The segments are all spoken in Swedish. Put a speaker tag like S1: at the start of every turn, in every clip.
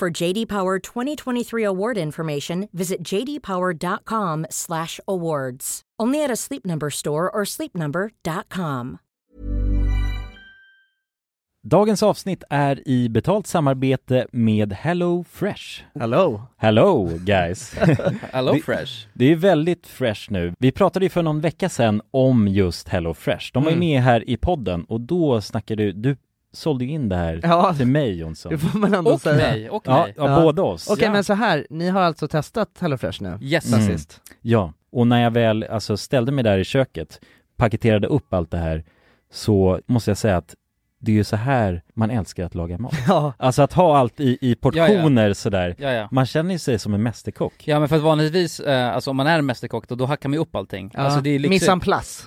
S1: For JD Power 2023 award information, visit jdpower.com/awards. Only at a Sleep Number store or sleepnumber.com.
S2: Dagens avsnitt är i betalt samarbete med Hello Fresh.
S3: Hello!
S2: Hello guys!
S3: Hello
S2: Det-
S3: Fresh!
S2: Det är väldigt fresh nu. Vi pratade ju för någon vecka sedan om just Hello Fresh. De var ju med här i podden och då snackade du, du sålde ju in det här
S3: Ja.
S2: till mig Jonsson.
S3: Det får man ändå
S4: Och
S3: säga.
S4: mig, och
S2: Ja,
S4: mig.
S2: ja,
S3: Ja.
S2: båda oss.
S3: Okej
S4: Ja.
S3: men så här, ni har alltså testat HelloFresh nu?
S4: Yes.
S3: Sen
S2: Mm.
S3: sist?
S2: Ja, och när jag väl alltså, ställde mig där i köket, paketerade upp allt det här, så måste jag säga att det är ju så här man älskar att laga mat.
S3: Ja,
S2: Alltså att ha allt i, i portioner sådär.
S4: Ja, ja.
S2: Man känner ju sig som en mästerkock.
S4: Ja men för att vanligtvis, eh, alltså om man är en mästerkock då, då hackar man ju upp allting.
S3: ja.
S4: Alltså det är lyxigt.
S3: Miss en place.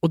S3: Och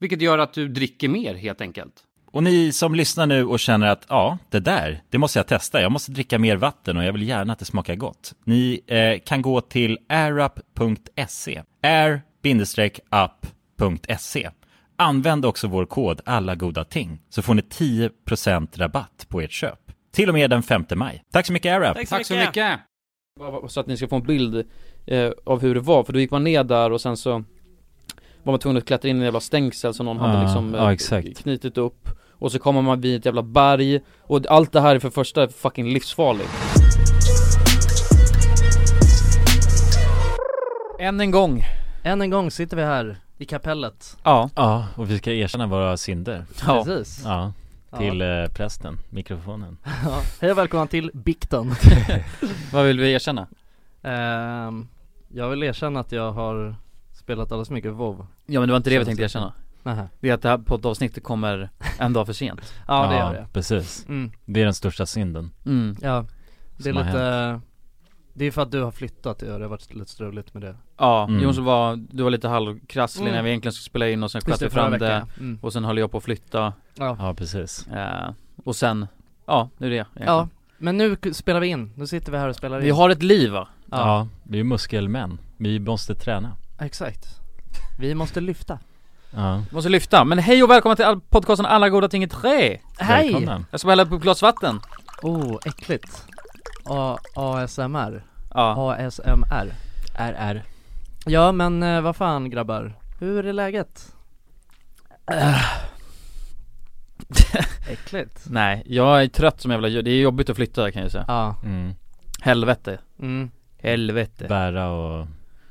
S5: vilket gör att du dricker mer helt enkelt.
S2: Och ni som lyssnar nu och känner att ja, det där, det måste jag testa. Jag måste dricka mer vatten och jag vill gärna att det smakar gott. Ni eh, kan gå till airup.se. air-up.se. Använd också vår kod alla goda ting så får ni 10% rabatt på ert köp. Till och med den 5 maj. Tack så mycket AirUp!
S5: Tack så mycket!
S6: Så att ni ska få en bild eh, av hur det var, för då gick man ner där och sen så var man tvungen att klättra in i en jävla stängsel som någon
S2: Ah,
S6: hade liksom
S2: ja, exakt.
S6: knutit upp Och så kommer man vid ett jävla berg och allt det här är för första fucking livsfarligt Än en gång
S3: Än en gång sitter vi här i kapellet.
S6: Ja,
S2: Ja, och vi ska erkänna våra synder.
S6: ja.
S3: Precis.
S2: Ja, till eh, prästen, mikrofonen.
S3: Hej och välkomna till Bikten.
S6: vad vill vi erkänna?
S3: Ehm, jag vill erkänna att jag har spelat alldeles mycket WoW.
S6: Ja men det var inte det vi tänkte erkänna
S3: Nähä.
S6: Det är att det här poddavsnittet kommer en dag för sent
S3: Ja, det gör det.
S2: Precis.
S3: Mm.
S2: Det är den största synden.
S6: mm.
S3: Ja, det är
S2: Som har
S3: lite Det är för att du har flyttat, ja, det har varit lite struligt med det
S6: Ja,
S2: Mm.
S6: Jonsson var, du var lite halvkrasslig
S3: Mm.
S6: när vi egentligen skulle spela in och sen sköt vi fram det
S3: mm.
S6: Och sen höll jag på att flytta
S3: ja.
S2: Ja, precis.
S6: eh, Och sen, ja nu är det egentligen.
S3: ja, Liksom. men nu k- spelar vi in, nu sitter vi här och spelar in
S6: Vi har ett liv va?
S2: Ja, vi är muskelmän. Vi måste träna.
S3: Exakt Vi måste lyfta
S2: Ja.
S6: Vi måste lyfta, men hej och välkomna till all- podcasten Alla goda ting i trä!
S3: Hej!
S2: Välkomna.
S6: Jag ska bara hälla upp ett glas vatten
S3: Oh, äckligt A- ASMR
S6: Ja,
S3: ASMR
S6: RR
S3: Ja men eh, vad fan grabbar, hur är läget? Äckligt
S6: Nej, jag är trött som jävla djur. det är jobbigt att flytta kan jag säga
S3: Ja,
S2: Mm.
S6: Helvete
S3: mm.
S6: Helvete
S2: Bära och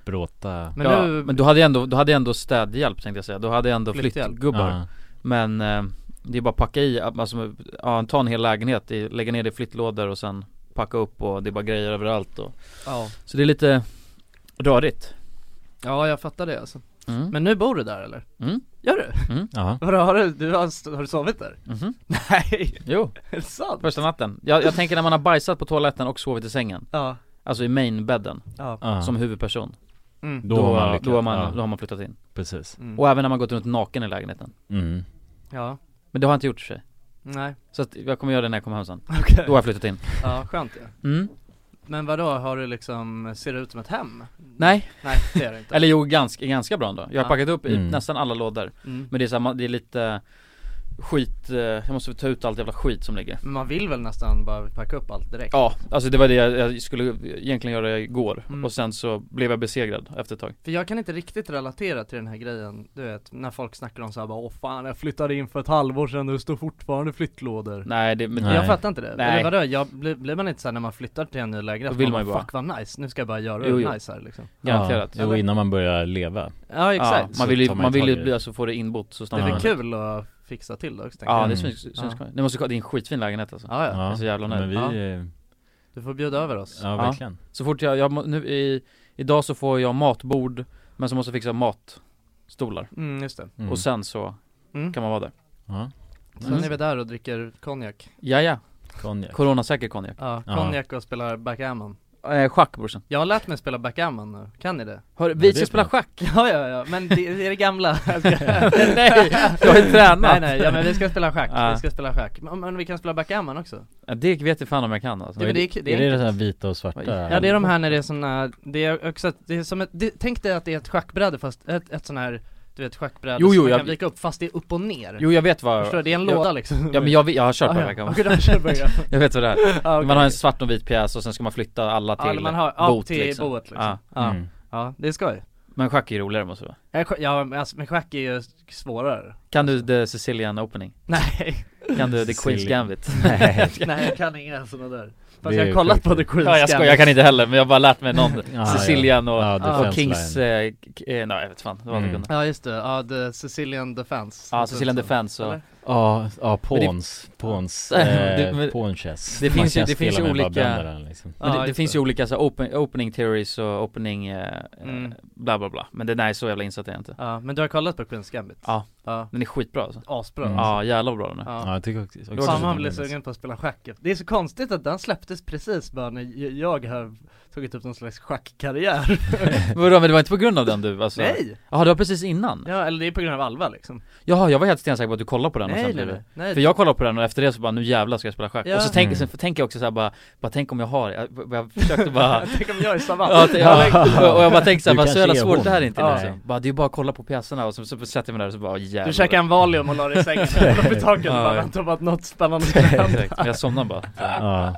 S2: bråta.
S3: men
S6: ja,
S3: nu
S6: men du hade jag ändå, du hade jag ändå städhjälp tänkte jag säga, du hade jag ändå
S3: Flytthjälp.
S6: flyttgubbar
S2: Ja.
S6: Men eh, det är bara att packa i, alltså, ja, ta en hel lägenhet, i- lägga ner det i flyttlådor och sen packa upp och det är bara grejer överallt och,
S3: ja.
S6: Så det är lite rörigt
S3: ja, jag fattar det alltså
S6: mm.
S3: Men nu bor du där eller?
S6: Mm.
S3: Gör du?
S2: ja.
S3: Vadå, har du, du har, har du sovit där?
S6: Mhm.
S3: Nej,
S6: Jo,
S3: är det sant?
S6: första natten. Jag, jag tänker när man har bajsat på toaletten och sovit i sängen,
S3: Ja,
S6: alltså i mainbädden,
S3: ja,
S2: Ja.
S6: som huvudperson
S3: mm.
S2: då, har man, lyckats.
S6: då, har man
S2: ja,
S6: då har man flyttat in.
S2: Precis.
S3: Mm.
S6: Och även när man gått runt naken i lägenheten.
S2: Mm.
S3: ja,
S6: Men det har jag inte gjort i och för sig.
S3: nej,
S6: Så att jag kommer göra det när jag kommer hem sen.
S3: okej,
S6: Då har jag flyttat in.
S3: ja skönt ja.
S6: Mm.
S3: Men vadå, har du liksom, ser det ut som ett hem?
S6: Nej,
S3: Nej, det är det inte
S6: eller jo ganska, ganska bra ändå. Jag
S3: Ja.
S6: har packat upp i
S2: Mm.
S6: nästan alla lådor.
S3: mm.
S6: Men det är så här, man- det är lite skit, eh, jag måste ta ut allt jävla skit som ligger.
S3: Men man vill väl nästan bara packa upp allt direkt?
S6: Ja, alltså det var det jag, jag skulle egentligen göra igår.
S3: Mm.
S6: Och sen så blev jag besegrad efter ett tag.
S3: För jag kan inte riktigt relatera till den här grejen, du vet, när folk snackar om såhär bara åh fan jag flyttade in för ett halvår sedan och det står fortfarande flyttlådor
S6: Nej, det, men
S2: Nej.
S3: Jag fattar inte det,
S6: Nej.
S3: eller vadå, jag, blir, blir man inte såhär när man flyttar till en ny lägenhet,
S6: Då vill man ju
S3: bara
S6: bara-
S3: fuck vad nice, nu ska jag bara göra
S6: Jo,
S3: det
S6: jo.
S3: nice här liksom
S6: garanterat.
S2: Ja. Jo, innan man börjar leva.
S3: Ja exakt,
S6: Ja, man vill ju,
S2: Så tar
S6: man
S2: man
S6: vill
S2: tag i
S6: ju
S2: det.
S6: bli, alltså få det inbott så
S3: det är
S6: snabbt som
S3: väl
S6: möjligt.
S3: kul att fixa till det också tänker
S6: Ja
S3: jag.
S6: det
S2: Mm.
S6: syns, syns
S3: Ja.
S6: ja. Ni måste kolla, det är en skitfin lägenhet alltså
S3: ja, ja.
S6: Jag är så jävla nöjd.
S2: men vi,
S3: Ja.
S2: eh,
S3: Du får bjuda över oss
S2: ja,
S6: Ja.
S2: verkligen.
S6: Så fort jag, jag må- nu i, idag så får jag matbord Men så måste jag fixa mat stolar
S3: Mm, just det.
S2: Mm.
S6: och sen så
S3: Mm.
S6: kan man vara där
S2: Ja,
S3: Sen är vi där och dricker konjak.
S6: Ja ja,
S2: konjak.
S6: coronasäker konjak
S3: Ja,
S2: Ja.
S3: konjak och spelar backgammon.
S6: eh, Schack brorsan
S3: Jag har lärt mig spela backgammon nu, kan ni det?
S6: Hör,
S2: det
S6: Vi
S2: är
S6: ska spela schack!
S3: Ja, ja, ja, men det, det är det gamla.
S6: Nej, du har ju tränat!
S3: nej, nej, ja men vi ska spela schack,
S6: Ja.
S3: vi ska spela schack. Men, men vi kan spela backgammon också.
S6: Ja, Det vet jag fan om jag kan alltså.
S3: Ja, men det är, det
S2: är, det
S3: är
S2: den här vita och svarta?
S6: Vad i-
S3: Ja det är de här när det är såna, det är också, att- det är som ett, det, tänk dig att det är ett schackbräde fast, ett, ett sån här, du vet schackbräde
S6: Jo, jo,
S3: som man
S6: jag-
S3: kan vika upp fast det är upp och ner.
S6: Jo jag vet vad
S3: Förstår du? Det är en
S6: jag,
S3: låda liksom.
S6: Ja men jag, vet- jag har kört på
S3: ah,
S6: det här
S3: ja.
S6: kan man-
S3: Okej, du har kört på det, ja.
S6: Jag vet vad det är
S3: Ja, okej.
S6: Man har en svart och vit pjäs och sen ska man flytta alla till
S3: Ja, eller man har, ja,
S6: bot
S3: till
S6: liksom.
S3: boet liksom.
S6: Ja.
S3: Ja. Ja.
S2: Mm.
S3: det är skoj.
S6: Men schack är ju roligare måste det vara
S3: Ja, sk- Ja, men alltså, men schack är ju svårare.
S6: Kan du the Sicilian opening?
S3: Nej,
S6: Kan du the
S2: Sicilian.
S6: Queen's Gambit?
S2: Nej.
S3: nej jag kan inga såna där.
S2: Det är
S3: Fast jag
S2: ju
S3: har kollat
S2: sjukt.
S3: på The Queen's
S6: Ja jag skojar, jag
S3: Gambit.
S6: kan inte heller men jag har bara lärt mig någon
S2: Ja,
S6: Sicilian och,
S2: Ja,
S6: och
S2: defense
S6: Kings,
S2: line.
S6: eh, k- eh, nej jag vet fan, det var
S2: Mm.
S6: mm.
S3: Ja just det, ja The Sicilian Defense Alltså,
S6: Ja, Sicilian Defense och
S3: Eller?
S2: Ja, ja,
S6: Men det-
S2: pawns, pawns,
S6: Det- men-
S2: eh, pawnchess
S6: det
S2: Man
S6: finns ju-
S2: kan
S6: det
S2: spela
S6: finns ju
S2: med bara
S6: olika-
S2: bönderna, liksom.
S6: Men
S3: Ja,
S6: det, det
S3: just
S6: finns
S3: det.
S6: ju olika så här, open, opening theories och opening eh,
S3: Mm.
S6: eh, bla bla bla Men den är så jävla insatt är jag inte
S3: Ja, men du har kollat på Queen's Gambit?
S6: Ja.
S3: Ja,
S6: Den är skitbra alltså
S3: asbra
S2: Mm.
S6: Ja jävlar vad bra den är
S2: Ja,
S3: Ja.
S2: jag tycker också, också
S3: Fan
S2: det.
S3: man blir sugen på att spela schack Det är så konstigt att den släpptes precis bara när j- jag har tagit upp någon slags schackkarriär
S6: Vadå men det var inte på grund av den du alltså?
S3: Nej!
S6: Jaha det var precis innan?
S3: Ja eller det är på grund av Alva liksom
S6: Jaha jag var helt stensäker på att du kollade på den och
S3: Nej
S6: sen
S3: nej
S6: blev
S3: nej,
S6: det
S3: nej.
S6: För jag kollade på den och efter det så bara nu jävlar ska jag spela schack
S3: Ja.
S6: Och så tänker,
S2: Mm.
S6: sen tänker jag också såhär bara, bara tänk om jag har, jag, jag försökte bara
S3: Tänk om jag är
S6: Ja,
S3: savant
S6: t- ja, och jag bara tänkte
S2: Du
S6: såhär, så
S2: kanske
S6: jävla
S2: är
S6: svårt
S2: hon.
S6: det här är inte
S2: Ja.
S6: liksom. bara, Det är ju bara att kolla på pjäserna och så, så sätter jag mig där och så bara jävlar
S3: Du käkar en Valium och la dig i sängen och upp i taket och bara
S6: Ja.
S3: väntar på att något spännande ska hända
S6: Direkt, men jag somnar bara
S2: Ja,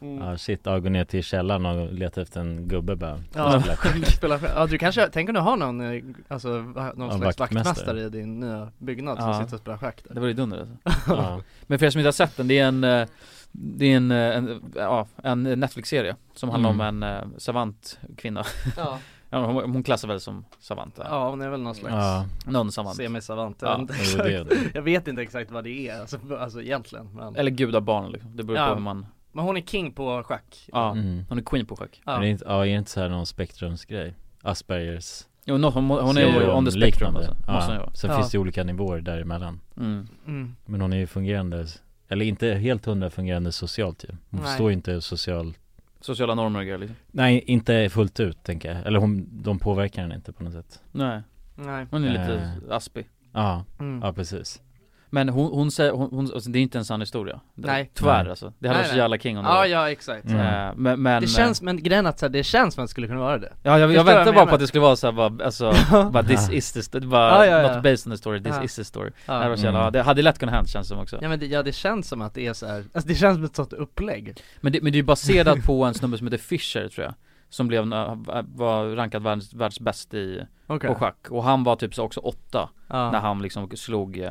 S6: Mm.
S2: ja shit, ja, gå ner till källaren och leta efter en gubbe bara
S3: Ja,
S2: Spela-
S3: spela schack. ja du kanske, tänk om du har någon, eh, alltså, va- någon
S2: Ja,
S3: slags
S2: vaktmästare.
S3: vaktmästare i din nya byggnad som
S6: Ja.
S3: sitter och spelar schack där
S6: Det var ju dunder alltså.
S2: ja.
S6: Men för er som inte har sett den, det är en eh, Det är en, eh, en, ja, en Netflix-serie Som handlar om en eh, savant kvinna
S3: Mm. Ja,
S6: ja, hon, hon klassar väl som savant ja.
S3: ja hon är väl någon slags
S2: ja,
S6: Någon savant
S3: semisavant,
S6: Ja,
S3: jag, vet
S2: det
S3: inte
S2: var det jag
S3: exakt. jag vet inte exakt vad det är, alltså, alltså egentligen men...
S6: Eller gudabarn liksom, det beror
S3: Ja.
S6: på hur man
S3: men hon är king på schack
S6: Ja,
S2: Mm.
S6: hon är queen på schack
S2: Men
S3: Ja,
S2: det är inte, ja, är det inte så här någon spektrumsgrej? Aspergers
S6: Jo, no, hon, hon är ju on the spectrum
S2: liknande.
S6: alltså. Måste hon ju
S2: ja.
S6: vara
S2: Sen
S3: Ja.
S2: finns det olika nivåer däremellan
S6: mm.
S3: mm.
S2: Men hon är ju fungerande, eller inte helt hundra fungerande socialt ju Hon
S3: Nej.
S2: förstår ju inte social
S6: Sociala normer och grejer liksom
S2: Nej inte fullt ut tänker jag, eller hon, de påverkar henne inte på något sätt
S6: Nej,
S3: nej,
S6: hon är lite
S2: Eh.
S6: aspig
S2: Ja,
S3: mm.
S2: ja precis
S6: Men hon, hon säger, hon, hon, alltså, det är inte en sann historia
S3: Nej.
S6: Tyvärr
S2: Nej.
S6: alltså, det hade
S3: Nej,
S6: varit så
S3: nej.
S6: jävla king om det
S3: ja,
S6: var.
S3: ja exakt
S2: Mm.
S6: Eh, Men, men
S3: Det
S6: eh,
S3: känns, men grejen är att så här, det känns som att det skulle kunna vara det
S6: Ja jag,
S3: Förstår
S6: jag
S3: vad jag
S6: väntade bara
S3: menar?
S6: på att det skulle vara såhär bara, alltså, bara this is the story, bara
S3: Ja, ja, ja.
S6: not based on the story, this
S3: Ja.
S6: is the story Det här
S3: ja.
S6: var så jävla,
S2: Mm.
S6: ja, det hade lätt kunnat hänt känns det som också
S3: Ja men det, ja, det känns som att det är så här. alltså det känns som ett sånt upplägg
S6: men, det, men det är ju baserat på en snubbe som heter Fischer tror jag Som blev, eh, var rankad världs, världsbäst i,
S3: Okej
S6: på schack Och han var typ så också åtta när
S3: ja.
S6: han liksom slog, eh,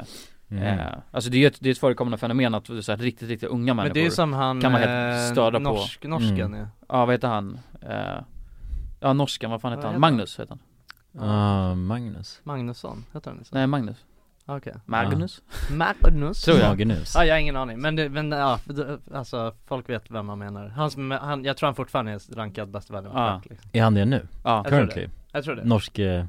S2: Mm.
S6: eh, alltså det är ju ett, det är ett förekommande fenomen att så här, riktigt, riktigt unga
S3: Men
S6: människor
S3: det är ju som han,
S6: kan man helt
S3: eh,
S6: störa på.
S3: norsk, norsken
S2: Mm.
S3: ja.
S6: Ja vad heter han? Eh, ja norskan, vad fan heter
S3: Vad
S6: han?
S3: heter
S6: Magnus heter han
S2: Ah, Magnus
S3: Magnusson, heter han så?
S6: Nej Magnus
S3: Okej
S6: Magnus?
S3: Magnus
S6: Tror jag.
S2: Magnus
S3: Ja, jag har ingen aning, men, det, men ja, för det- alltså folk vet vem man menar. Han som, han, jag tror han fortfarande är rankad bäst i världen på
S6: Ja.
S3: schack, liksom.
S2: Är han det nu?
S6: Ja,
S3: Jag tror det.
S2: Currently?
S3: Jag tror det.
S2: Norsk, eh,
S6: ja,
S2: Ja,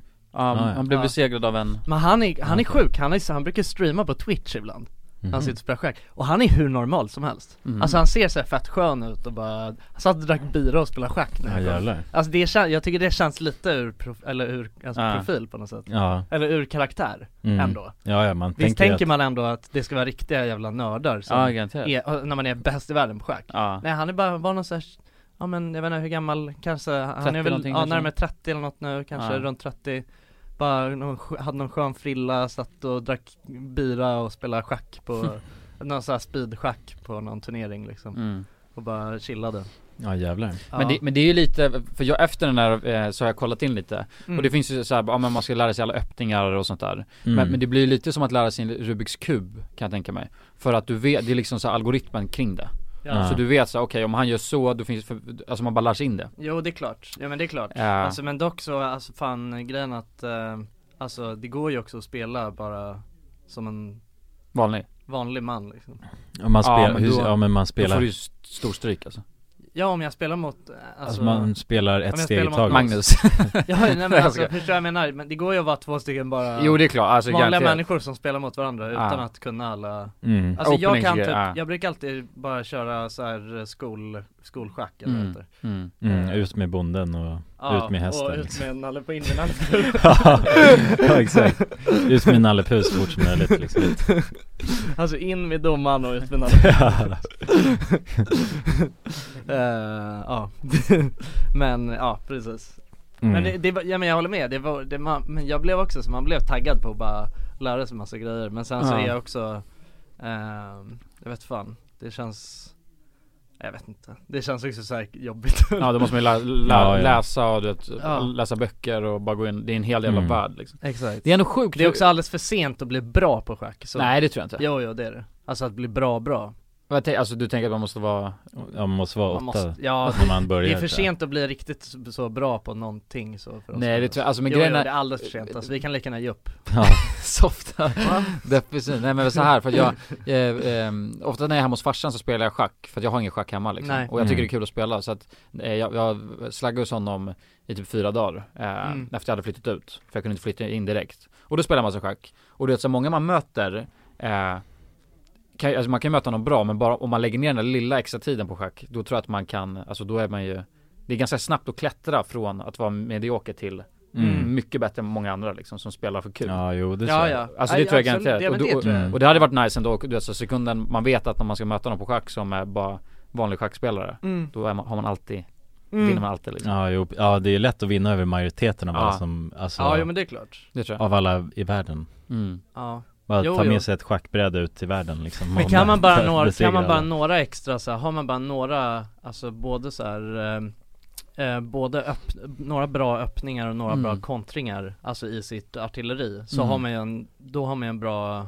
S2: ja.
S6: han blev
S3: Ja.
S6: besegrad av en
S3: Men han är, han är
S2: Okej.
S3: sjuk, han, är, han brukar streama på Twitch ibland.
S2: mhm.
S3: Han sitter och spelar schack, och han är hur normal som helst.
S6: Mhm.
S3: Alltså han ser så här fett skön ut och bara, han satt och drack bira och spelade schack när
S2: Ja
S3: han kom.
S2: jävlar
S3: Alltså det känns, jag tycker det känns lite ur, prof, eller ur, alltså
S6: Ah. Ja.
S3: profil på något sätt.
S2: Ja,
S3: Eller ur karaktär,
S2: mm.
S3: ändå.
S2: Ja, ja man
S3: Visst
S2: tänker, ju
S3: tänker man ändå att det ska vara riktiga jävla nördar som
S6: Ja garanterat
S3: är, när man är bäst i världen på schack.
S6: Ja,
S3: Nej han är bara, var någon så här, ja men jag vet inte hur gammal, kanske, han
S6: 30
S3: är väl,
S6: någonting,
S3: ja
S6: kanske.
S3: närmare 30 eller något nu, kanske
S6: Ja.
S3: runt 30 Bara, någon, sk- hade någon skön frilla, satt och drack bira och spelade schack på, någon sån här speedschack på någon turnering liksom
S6: mm.
S3: Och bara chillade
S2: Ja jävlar
S3: ja.
S6: men, det, men det är ju lite, för jag efter den här eh, så har jag kollat in lite
S3: Mm.
S6: Och det finns ju såhär, ja men man ska lära sig alla öppningar och sånt där
S2: Mm.
S6: men, men det blir ju lite som att lära sig en Rubiks kub kan jag tänka mig För att du vet, det är liksom så här algoritmen kring det
S2: Ja.
S3: alltså,
S6: Så du vet såhär, okej om han gör så, då finns för, alltså man bara lär sig in det
S3: Jo det är klart, ja men det är klart
S6: Ja.
S3: Alltså men dock så, alltså fan grejen att, eh, alltså det går ju också att spela bara som en
S6: Vanlig
S3: vanlig man liksom
S2: Om man
S6: Ja,
S2: spelar, ja,
S6: men
S2: hur,
S6: då-
S2: ja men man
S6: Då får
S2: spelar
S6: du ju st- stor stryk alltså
S3: Ja, om jag spelar mot... eh,
S2: Alltså man spelar
S3: jag
S2: ett steg i
S3: spelar mot
S2: taget.
S3: Magnus.
S6: Magnus.
S3: Ja, nej, men alltså,
S6: Jag
S3: förstår vad jag menar? Men det går ju att vara två stycken bara
S7: Jo det är klart, alltså
S3: vanliga
S7: garanterat.
S3: människor som spelar mot varandra utan
S7: Ja.
S3: att kunna alla
S2: Mm.
S3: Alltså jag
S7: Openings-
S3: kan typ,
S7: ja.
S3: jag brukar alltid bara köra så här eh, skol, skolschack eller vad det
S6: Mm.
S3: heter
S6: Mm.
S2: Mm. Ut med bonden och ut med hästen.
S3: och ut
S2: liksom.
S3: med nalle på innan
S2: ja exakt. Ut med Nalle Puh så fort som möjligt liksom.
S3: Alltså in med domaren och ut med nalle Eh, Ja, men ja precis Men det,
S2: Mm.
S3: det var, ja, men jag håller med, det var, det, man, men jag blev också så, man blev taggad på att bara lära sig massa grejer Men sen så
S7: Ja.
S3: är jag också, ehm, jag vet fan, det känns jag vet inte, det känns också så här jobbigt
S6: Ja då måste man ju lä- lä-
S2: Ja, ja.
S6: läsa och du vet,
S3: Ja.
S6: läsa böcker och bara gå in, det är en hel jävla
S2: Mm.
S6: värld liksom.
S3: Exakt
S6: Det är ändå sjukt Alltså-
S3: Det är också alldeles för sent att bli bra på schack så.
S6: Nej det tror jag inte.
S3: Jo, jo det är det Alltså att bli bra, bra
S6: Vad tänk- Alltså du tänker att man måste vara,
S2: Ja, man måste vara åtta
S3: Man måste, ja
S2: när man
S3: det
S2: börjar.
S3: är för
S2: tror jag.
S3: sent att bli riktigt så- så bra på någonting så för oss
S6: nej det tror jag, alltså men
S3: jo, jo,
S6: grejen
S3: det
S6: är
S3: är alldeles för sent, alltså, vi kan lika gärna ge upp
S2: Ja.
S6: softa, depressiv. Nej men så här för att jag, eh, eh, ofta när jag är hemma hos farsan så spelar jag schack för att jag har ingen schack hemma liksom.
S3: Nej.
S6: Och jag tycker
S2: Mm.
S6: det är kul att spela så att eh, jag, jag slaggade hos honom i typ fyra dagar eh,
S3: Mm.
S6: efter jag hade flyttat ut. För jag kunde inte flytta in direkt. Och då spelar man massa schack. Och du vet så många man möter eh, kan, alltså man kan möta någon bra men bara om man lägger ner den där lilla extra tiden på schack då tror jag att man kan, alltså då är man ju det är ganska snabbt att klättra från att vara medioker till
S2: Mm.
S6: mycket bättre än många andra liksom som spelar för kul.
S2: ja, jo det tror jag.
S6: Alltså det tror
S3: absolut.
S6: jag garanterat.
S3: Ja, men
S6: Och då-
S3: det tror jag.
S2: Mm.
S6: Och det hade varit nice ändå, du vet så sekunden man vet att när man ska möta någon på schack som är bara vanlig schackspelare
S3: Mm.
S6: Då är man, har man alltid,
S3: Mm.
S6: vinner man alltid liksom.
S2: Ja, jo, ja, det är lätt att vinna över majoriteten av
S6: Ja.
S2: alla som, alltså,
S3: Ja, jo men det är klart
S6: Det tror jag
S2: av alla i världen.
S6: mm.
S3: Ja
S2: Bara
S3: Jo,
S2: ta
S3: jo.
S2: med sig ett schackbräde ut i världen liksom.
S3: Men
S2: Om
S3: kan man bara några,
S2: besegrar
S3: kan man bara
S2: alla.
S3: några extra så här, har man bara några, alltså både så här eh, eh, både öpp, några bra öppningar och några
S6: Mm.
S3: bra kontringar, alltså i sitt artilleri, så
S6: Mm.
S3: har man ju en, då har man ju en bra,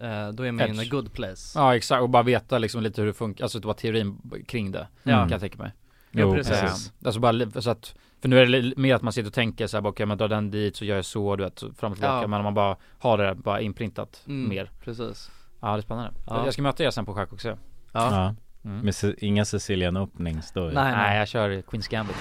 S3: eh, då är man ju in a
S6: Edge.
S3: good place
S6: Ja exakt, och bara veta liksom lite hur det funkar, alltså det var teorin b- kring det
S3: Ja.
S6: Kan jag tänka mig
S2: Jo,
S3: Ja,
S2: precis.
S3: precis.
S6: Eh, Alltså bara li- så att, för nu är det li- mer att man sitter och tänker såhär, okej men dra den dit så gör jag så, du vet, så fram och tillbaka
S3: Ja.
S6: Men om man bara har det bara inprintat
S3: Mm.
S6: mer
S3: Precis
S6: Ja det är spännande
S3: Ja.
S6: Jag ska möta er sen på schack också
S2: Ja.
S3: Ja.
S6: Mm.
S2: Med ce- inga Sicilian openings då. ju.
S3: Nej,
S6: Nej
S3: nej.
S6: jag kör Queens Gambit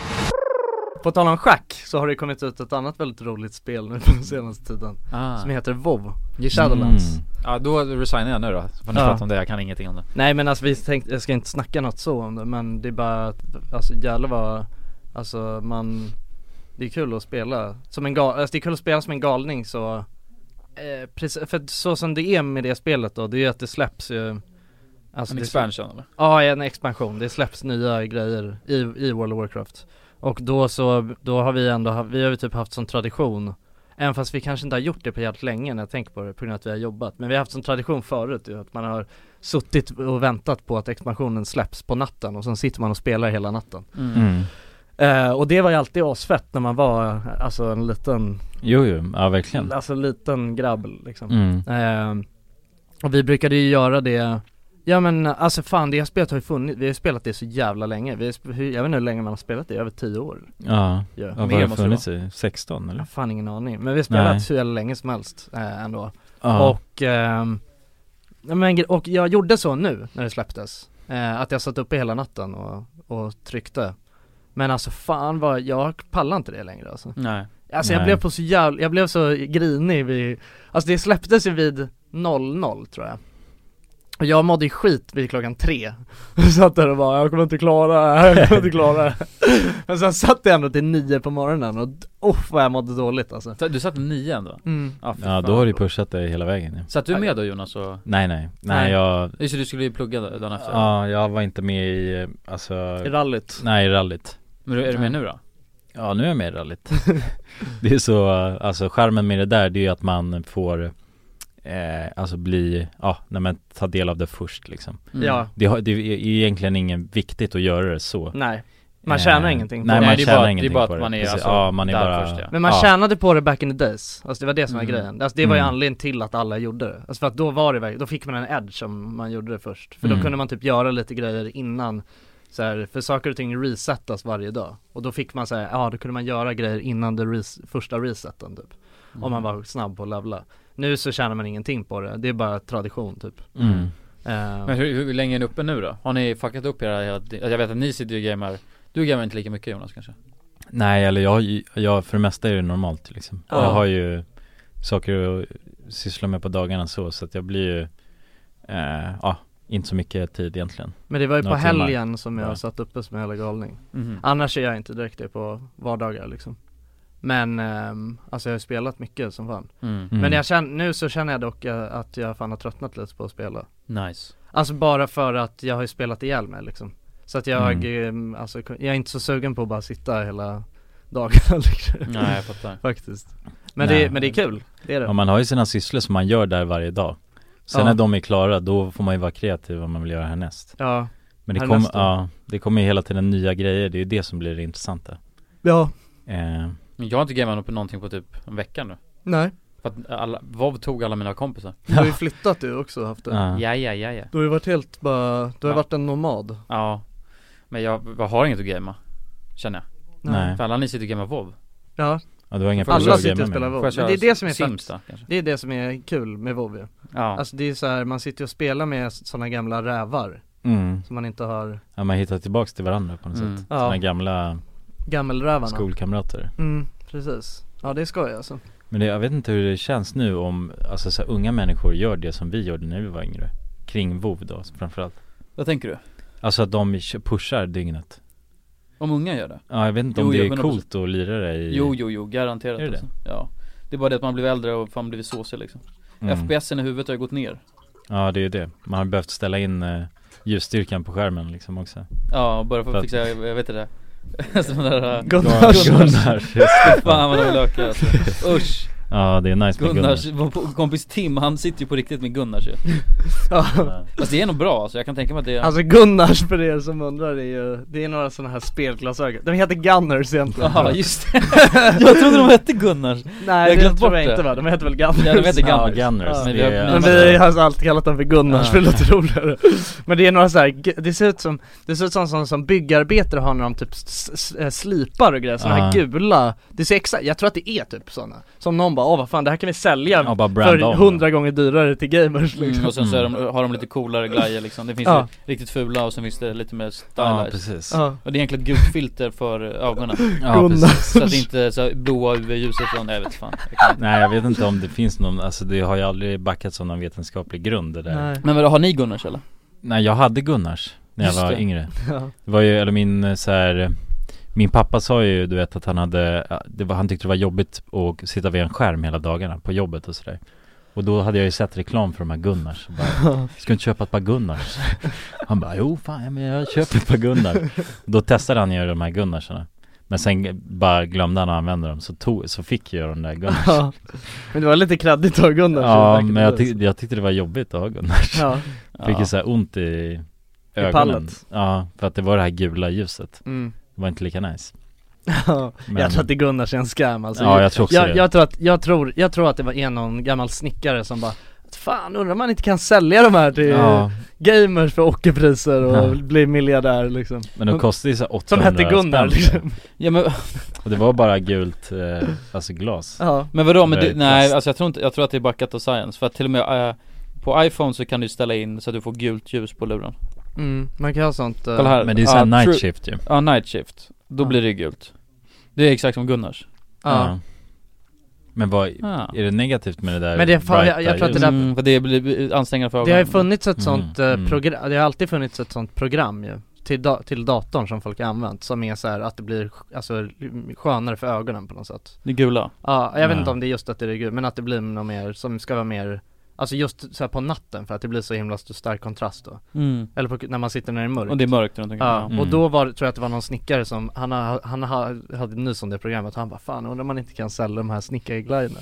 S3: På tal om schack så har det kommit ut ett annat väldigt roligt spel nu på den senaste tiden
S6: ah.
S3: Som heter WoW
S6: Just det.
S3: Shadowlands
S2: Mm.
S6: Ja då resignar jag nu då, får ni
S3: Ja.
S6: prata om det, jag kan ingenting om det
S3: Nej men alltså vi tänkte, jag ska inte snacka något så om det men det är bara att, alltså jävlar vad, alltså man, det är kul att spela som en gal, alltså det är kul att spela som en galning så, eh, precis, för att så som det är med det spelet då, det är ju att det släpps ju alltså
S6: En
S3: det-
S6: expansion eller?
S3: Ja en expansion, det släpps nya grejer i, i World of Warcraft Och då så, då har vi ändå, ha- vi har ju typ haft som tradition Även fast vi kanske inte har gjort det på jävligt länge när jag tänker på det på grund av att vi har jobbat Men vi har haft som tradition förut ju, att man har suttit och väntat på att expansionen släpps på natten och sen sitter man och spelar hela natten
S2: Mm.
S3: eh, Och det var ju alltid asfett när man var alltså en liten,
S2: Jo, jo, ja verkligen.
S3: alltså en liten grabb liksom
S2: Mm.
S3: Ehm, och vi brukade ju göra det Ja men alltså fan det här spelet har ju funnits, vi har ju spelat det så jävla länge, vi har, sp- hur- jag vet inte hur länge man har spelat det, över tio år
S2: Ja,
S3: ju.
S2: ja vad
S6: Mer
S2: har det
S6: måste det
S2: funnits i? 16 eller?
S3: Jag har fan ingen aning, men vi har spelat
S2: Nej.
S3: så jävla länge som helst eh, ändå
S2: Ja.
S3: Och, ehm, ja, men, gre- och jag gjorde så nu när det släpptes eh, Att jag satt uppe hela natten och, och tryckte Men alltså fan vad, jag pallar inte det längre alltså
S6: Nej
S3: Alltså jag
S2: Nej.
S3: blev på så jävla, jag blev så grinig vid, alltså det släpptes ju vid 00 tror jag och jag mådde ju skit vid klockan tre Satt där och bara, jag kommer inte klara det här, jag kommer inte klara det här." Men sen satt jag ändå till nio på morgonen och oh, vad jag mådde dåligt alltså
S6: Så Du satt med nio ändå?
S3: mm.
S6: Ja, fy
S2: Ja, då
S6: fan.
S2: har du pushat dig hela vägen ja.
S6: Satt du med då Jonas och?
S2: Nej, nej,
S6: Nej.
S2: nej jag,
S6: Just det, du skulle ju plugga då- dagen efter
S2: ja jag var inte med i, eh, alltså,
S3: I rallyt
S2: nej rallyt.
S6: Men du- är du med nu då?
S2: Ja nu är jag med i rallyt Det är så, alltså skärmen med det där det är ju att man får eh, Alltså bli, ja, när man tar del av det först liksom
S3: Ja,
S2: det, har, det är egentligen inget viktigt att göra det så
S3: nej Man tjänar
S2: Eh,
S3: ingenting på
S2: Nej
S3: det.
S2: man
S6: Nej, det är
S2: tjänar
S6: bara- det är
S2: ingenting
S6: bara
S2: på
S6: att
S2: det
S6: man är
S2: Precis.
S6: alltså
S2: ja, man är
S6: där
S2: bara
S6: först, ja.
S3: Men man
S2: ja.
S3: tjänade på det back in the days, alltså det var det som var
S6: Mm.
S3: grejen Alltså det var ju
S2: Mm.
S3: anledningen till att alla gjorde det Alltså för att då var det verkligen, då fick man en edge om man gjorde det först För då
S2: Mm.
S3: kunde man typ göra lite grejer innan så här, för saker och ting resetas varje dag Och då fick man säga, ja då kunde man göra grejer innan det res- första reseten typ
S2: Mm.
S3: Om man var snabb på att levla Nu så tjänar man ingenting på det, det är bara tradition typ
S2: mm.
S8: Eh,
S6: Men hur, hur länge är ni uppe nu då? Har ni fuckat upp era hela, alltså, jag vet att ni sitter ju och gamar Du gamar inte lika mycket Jonas kanske?
S2: Nej, eller jag, har ju- jag för det mesta är det normalt liksom.
S8: Ja.
S2: Jag har ju saker att syssla med på dagarna så, så att jag blir ju, eh, ja, inte så mycket tid egentligen.
S8: men det var ju på
S2: några timmar.
S8: helgen som jag
S2: Ja.
S8: satt uppe som en jävla galning.
S6: Mhm.
S8: Annars är jag inte direkt det på vardagar liksom. Men ehm, alltså jag har ju spelat mycket som fan.
S6: Mm.
S8: Men jag känner, nu så känner jag dock eh, att jag fan har tröttnat lite på att spela.
S6: Nice
S8: Alltså bara för att jag har ju spelat ihjäl mig liksom. Så att jag,
S6: Mm.
S8: ehm, alltså, jag är inte så sugen på att bara sitta hela dagarna liksom.
S6: Nej jag fattar
S8: Faktiskt. Men
S2: Nej.
S8: det, men det är kul, det är det.
S2: Ja, man har ju sina sysslor som man gör där varje dag. Sen
S8: Ja.
S2: när de är klara, då får man ju vara kreativ vad man vill göra härnäst.
S8: Ja,
S2: Men det,
S8: Härnäst
S2: kommer,
S8: då?
S2: ja, det kommer ju hela tiden nya grejer, det är ju det som blir det intressanta.
S8: ja,
S2: Eh,
S6: Men Jag har inte gamat på någonting på typ en vecka nu
S8: nej.
S6: För att alla, WoW tog alla mina kompisar
S8: Du har ju flyttat du också haft det.
S2: ja.
S6: Ja ja ja ja
S8: Du har ju varit helt bara, du har
S6: Ja.
S8: varit en nomad.
S6: Ja Men jag, jag har inget att gamea Känner jag
S2: Nej,
S6: För alla ni sitter och gamar WoW
S8: Ja,
S2: ja, det var inga
S6: Alla
S2: problem att
S8: sitter och
S2: gamea med.
S8: spelar WoW.
S6: Får jag
S8: Men
S6: köra
S8: det är det som är
S6: Sims
S8: fett.
S6: då kanske?
S8: det är det som är kul med WoW ju.
S6: Ja
S8: Alltså det är så här, man sitter ju och spelar med sådana gamla rävar
S2: Mm.
S8: som man inte har,
S2: Ja, man hittar tillbaks till varandra på något
S6: Mm.
S2: sätt.
S8: Ja.
S2: Sina gamla
S8: gammelrävarna.
S2: skolkamrater.
S8: Mm, precis. Ja det är skoj alltså.
S2: Men det, jag vet inte hur det känns nu om, alltså så här, unga människor gör det som vi gjorde när vi var yngre Kring vov då framförallt
S6: Vad tänker du?
S2: Alltså att de kö- pushar dygnet
S6: Om unga gör det?
S2: Ja jag vet inte
S6: Jo,
S2: om det
S6: jo,
S2: är
S6: men
S2: coolt att lira det i
S6: Jo jo jo, garanterat
S2: Är det det?
S6: alltså. Ja Det är bara det att man blir äldre och fan blivit såsig liksom
S2: Mm.
S6: FPSen i huvudet har ju gått ner
S2: Ja det är ju det, man har behövt ställa in eh, ljusstyrkan på skärmen liksom också
S6: Ja, bara för
S2: För
S6: att
S2: att-
S6: fixa, jag, jag vet inte det Sådana där äh,
S8: Gunnars.
S2: Gunnars, just det.
S6: Fan vad de lökar alltså. Usch!
S2: Ja det är nice med
S6: Gunnars,
S2: Gunnars
S6: vår kompis Tim han sitter ju på riktigt med Gunnars ju
S8: Ja.
S6: Fast det är nog bra alltså, jag kan tänka mig att det är
S8: Alltså Gunnars för er som undrar är ju, det är några sådana här spelglasögon. De heter Gunners egentligen.
S6: Ja just det! jag trodde de hette Gunnars!
S8: Nej
S6: jag
S8: det
S6: glömt
S8: tror
S6: bort
S8: jag
S6: det.
S8: inte va, de heter väl Gunners?
S6: Ja de hette
S2: Ja,
S6: Gunnars,
S2: Gunners,
S6: Men
S2: det
S6: det
S2: är-
S8: Men
S2: Alltså-
S8: vi har alltid kallat dem för Gunnars
S6: Ja.
S8: för det låter roligare Men det är några så här, g- det ser ut som, det ser ut som sånt som byggarbetare har när de typ s- s- eh, slipar och grejer, såna här
S2: Ja.
S8: gula Det ser exakt, jag tror att det är typ sådana Som någon bara, åh vad fan det här kan vi sälja
S2: Ja bara brand
S8: för
S2: om
S8: hundra gånger dyrare till gamers liksom
S6: Mm, och sen så är de, har de lite coolare glajjor liksom, det finns
S8: Ja.
S6: ju riktigt fula och sen finns det lite mer
S2: Ja
S6: stylized
S2: precis
S8: Ja,
S6: Och det är egentligen ett gult filter för ögonen
S2: Ja, precis.
S6: Så att det inte är så här blåa UV-ljuset från, nej jag vet fan
S2: Nej jag vet inte om det finns någon, alltså det har ju aldrig backats av någon vetenskaplig grund det där
S8: nej
S6: Men vadå, har ni Gunnars eller?
S2: Nej jag hade Gunnars när jag
S6: Just
S2: var
S6: det.
S2: yngre
S8: ja.
S2: Det var ju, eller min eh, så här, Min pappa sa ju du vet att han hade, ja, det var, han tyckte det var jobbigt att sitta vid en skärm hela dagarna på jobbet och sådär Och då hade jag ju sett reklam för de här Gunnars och bara, Ska du inte köpa ett par Gunnars? Han bara, jo fan ja, men jag köper ett par Gunnar Då testade han ju de här Gunnarsarna Men sen bara glömde han att använda dem så, tog, så fick jag de där Gunnars
S8: Ja. Men det var lite kladdigt av Gunnars
S2: Ja men jag, tyck, jag tyckte det var jobbigt att ha Gunnars
S8: Ja,
S2: Fick
S6: Ja.
S2: ju såhär ont i ögonen
S8: pallet.
S2: Ja, för att det var det här gula ljuset
S8: mm.
S2: Det var inte lika nice
S8: ja.
S2: Men-
S8: Jag tror att det Gunnars är en scam alltså
S2: Ja jag tror också det
S8: jag, jag tror att, jag tror, jag tror att det var en någon gammal snickare som bara Fan undrar om man inte kan sälja de här till
S2: Ja,
S8: gamers för ockerpriser och
S2: Ja.
S8: bli miljardär liksom
S2: men de kostade ju så här 800
S8: Som hette Gunnar
S2: spänn.
S8: liksom
S6: Ja men
S2: Och det var bara gult, eh, alltså glas
S8: Ja,
S6: Men vadå, men det,
S2: Very
S6: nej
S2: fast.
S6: alltså jag tror inte, jag tror att det är backat av science för att till och med eh, på iPhone så kan du ställa in så att du får gult ljus på luren
S8: mm, man kan ha sånt eh,
S6: Kolla här,
S2: Men det är såhär
S6: Ja, true-
S2: night shift ju
S6: Ja, night shift, då
S8: Ja.
S6: blir det gult Det är exakt som Gunnars
S8: ja.
S2: Men vad,
S6: ah.
S2: är det negativt med det där
S8: Men det är fan- jag- jag tror att det där-
S6: mm, för det blir ansträngande för
S8: Det
S6: ögonen
S8: har ju funnits ett sånt
S2: Mm,
S8: eh,
S2: mm.
S8: program, det har alltid funnits ett sånt program ju till, da- till datorn som folk har använt som är så här att det blir sk- alltså, skönare för ögonen på något sätt
S6: Det gula
S8: Ja, jag vet
S2: Ja.
S8: inte om det är just att det är gult, men att det blir något mer som ska vara mer Alltså just så här på natten för att det blir så himla st- stark kontrast då
S6: mm.
S8: Eller på, när man sitter när det är mörkt
S6: Och det är mörkt runt omkring
S8: Ja,
S6: ja.
S8: och
S2: Mm.
S8: då var, tror jag att det var någon snickare som, han, ha- han ha- hade nys om det programmet och han bara Fan undrar om man inte kan sälja de här snickarglajjorna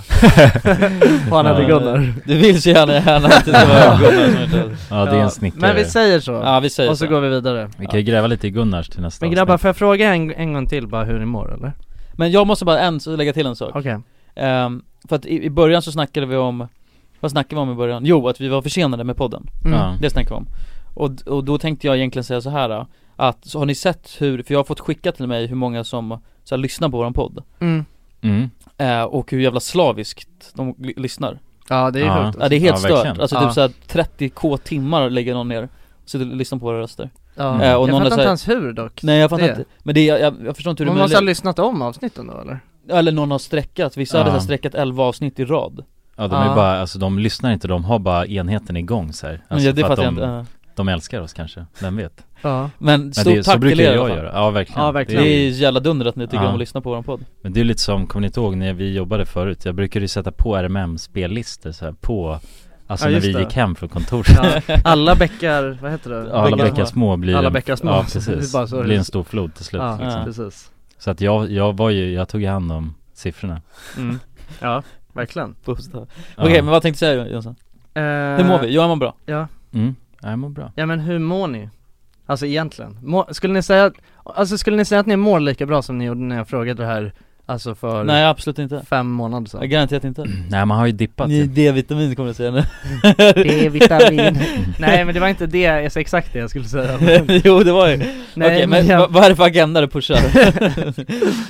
S8: Och han hade
S2: Ja.
S8: Gunnar
S6: Ah. Du vill så gärna, gärna att det ska vara Gunnars som heter
S2: Ja det är
S8: Ja,
S2: en snickare
S8: Men vi säger så,
S6: Ja vi säger
S8: och så går vi vidare
S2: Vi kan ju gräva lite i Gunnars till nästa
S8: Men grabbar,
S2: avsnitt.
S8: får jag fråga en, en gång till bara hur ni mår eller?
S6: Men jag måste bara en, så lägga till en sak
S8: Okej,
S6: Ehm, För att i, i början så snackade vi om Vad snackade vi om i början? Jo, att vi var försenade med podden
S8: mm.
S2: ja.
S6: Det snackade vi om. Och, och då tänkte jag egentligen säga så här äh, att så har ni sett hur, för jag har fått skicka till mig hur många som så här, lyssnar på våran podd Ehm,
S8: Mm.
S2: Mm.
S6: eh, och hur jävla slaviskt de li- lyssnar.
S3: Ja det är
S2: Ja.
S3: sjukt
S6: Ja det är helt
S2: Ja, verkligen.
S6: stört, alltså
S3: Ja.
S6: typ såhär 30k timmar lägger någon ner Sitter och lyssnar på våra röster
S2: Mm.
S3: ja.
S6: Eh, och
S3: Jag
S6: någon är
S3: fattar
S6: så här-
S3: inte ens hur dock
S6: Nej jag fattar
S3: Det.
S6: inte, men det, jag, jag, jag förstår inte hur
S3: Man
S6: du
S3: måste ha
S6: menar
S3: lyssnat om avsnitten då eller?
S6: Eller någon har streckat, vissa hade
S2: Ja.
S6: så här streckat 11 avsnitt i rad
S2: Ja de är
S3: Ja.
S2: ju bara, alltså de lyssnar inte, de har bara enheten igång så här.
S6: Men
S2: Alltså,
S6: ja, det
S2: för att
S6: fattar jag
S2: de,
S6: inte ja.
S2: de älskar oss kanske, vem vet?
S3: Ja
S6: Men
S2: Men
S6: stort
S2: det,
S6: tack
S2: så brukar
S6: till er i
S2: jag
S6: alla fall.
S2: göra, ja verkligen,
S3: Ja,
S6: Det
S3: verkligen.
S2: Det är,
S6: är jävla dunder att ni tycker
S2: Ja.
S6: om att lyssna på våran podd
S2: Men det är lite som, kommer ni inte ihåg när vi jobbade förut? Jag brukade ju sätta på RMM-spellistor så här på Alltså
S3: Ja,
S2: när
S3: just
S2: vi
S3: det.
S2: gick hem från kontoret
S3: Alla bäckar, vad heter det?
S2: Alla bäckar små blir
S3: Alla
S2: en-
S3: bäckar små.
S2: Ja
S3: Det
S2: precis,
S3: är bara så det
S2: blir
S3: är.
S2: en stor flod till slut
S3: Ja,
S2: liksom.
S3: precis
S2: Så att jag, jag var ju, jag tog hand om siffrorna
S3: mm. Ja, verkligen
S6: Bokstavligt.
S2: Ja.
S6: Okej men vad tänkte du säga Jonsson?
S3: eh,
S6: Hur mår vi? Johan mår bra?
S2: Mm, jag mår bra
S3: Ja men hur mår ni? Alltså egentligen, mår, skulle ni säga, alltså skulle ni säga att ni mår lika bra som ni gjorde när jag frågade det här, alltså för
S6: Nej absolut inte
S3: fem månader
S6: Jag
S3: sedan?
S6: garanterat inte
S2: Nej man har ju dippat
S6: Ni
S2: ju.
S6: D-vitamin kommer jag säga nu
S3: D-vitamin Nej men det var inte det, alltså exakt det jag skulle säga Nej,
S6: Jo det var ju Okej men
S3: jag-
S6: vad- vad är det för agenda du pushar?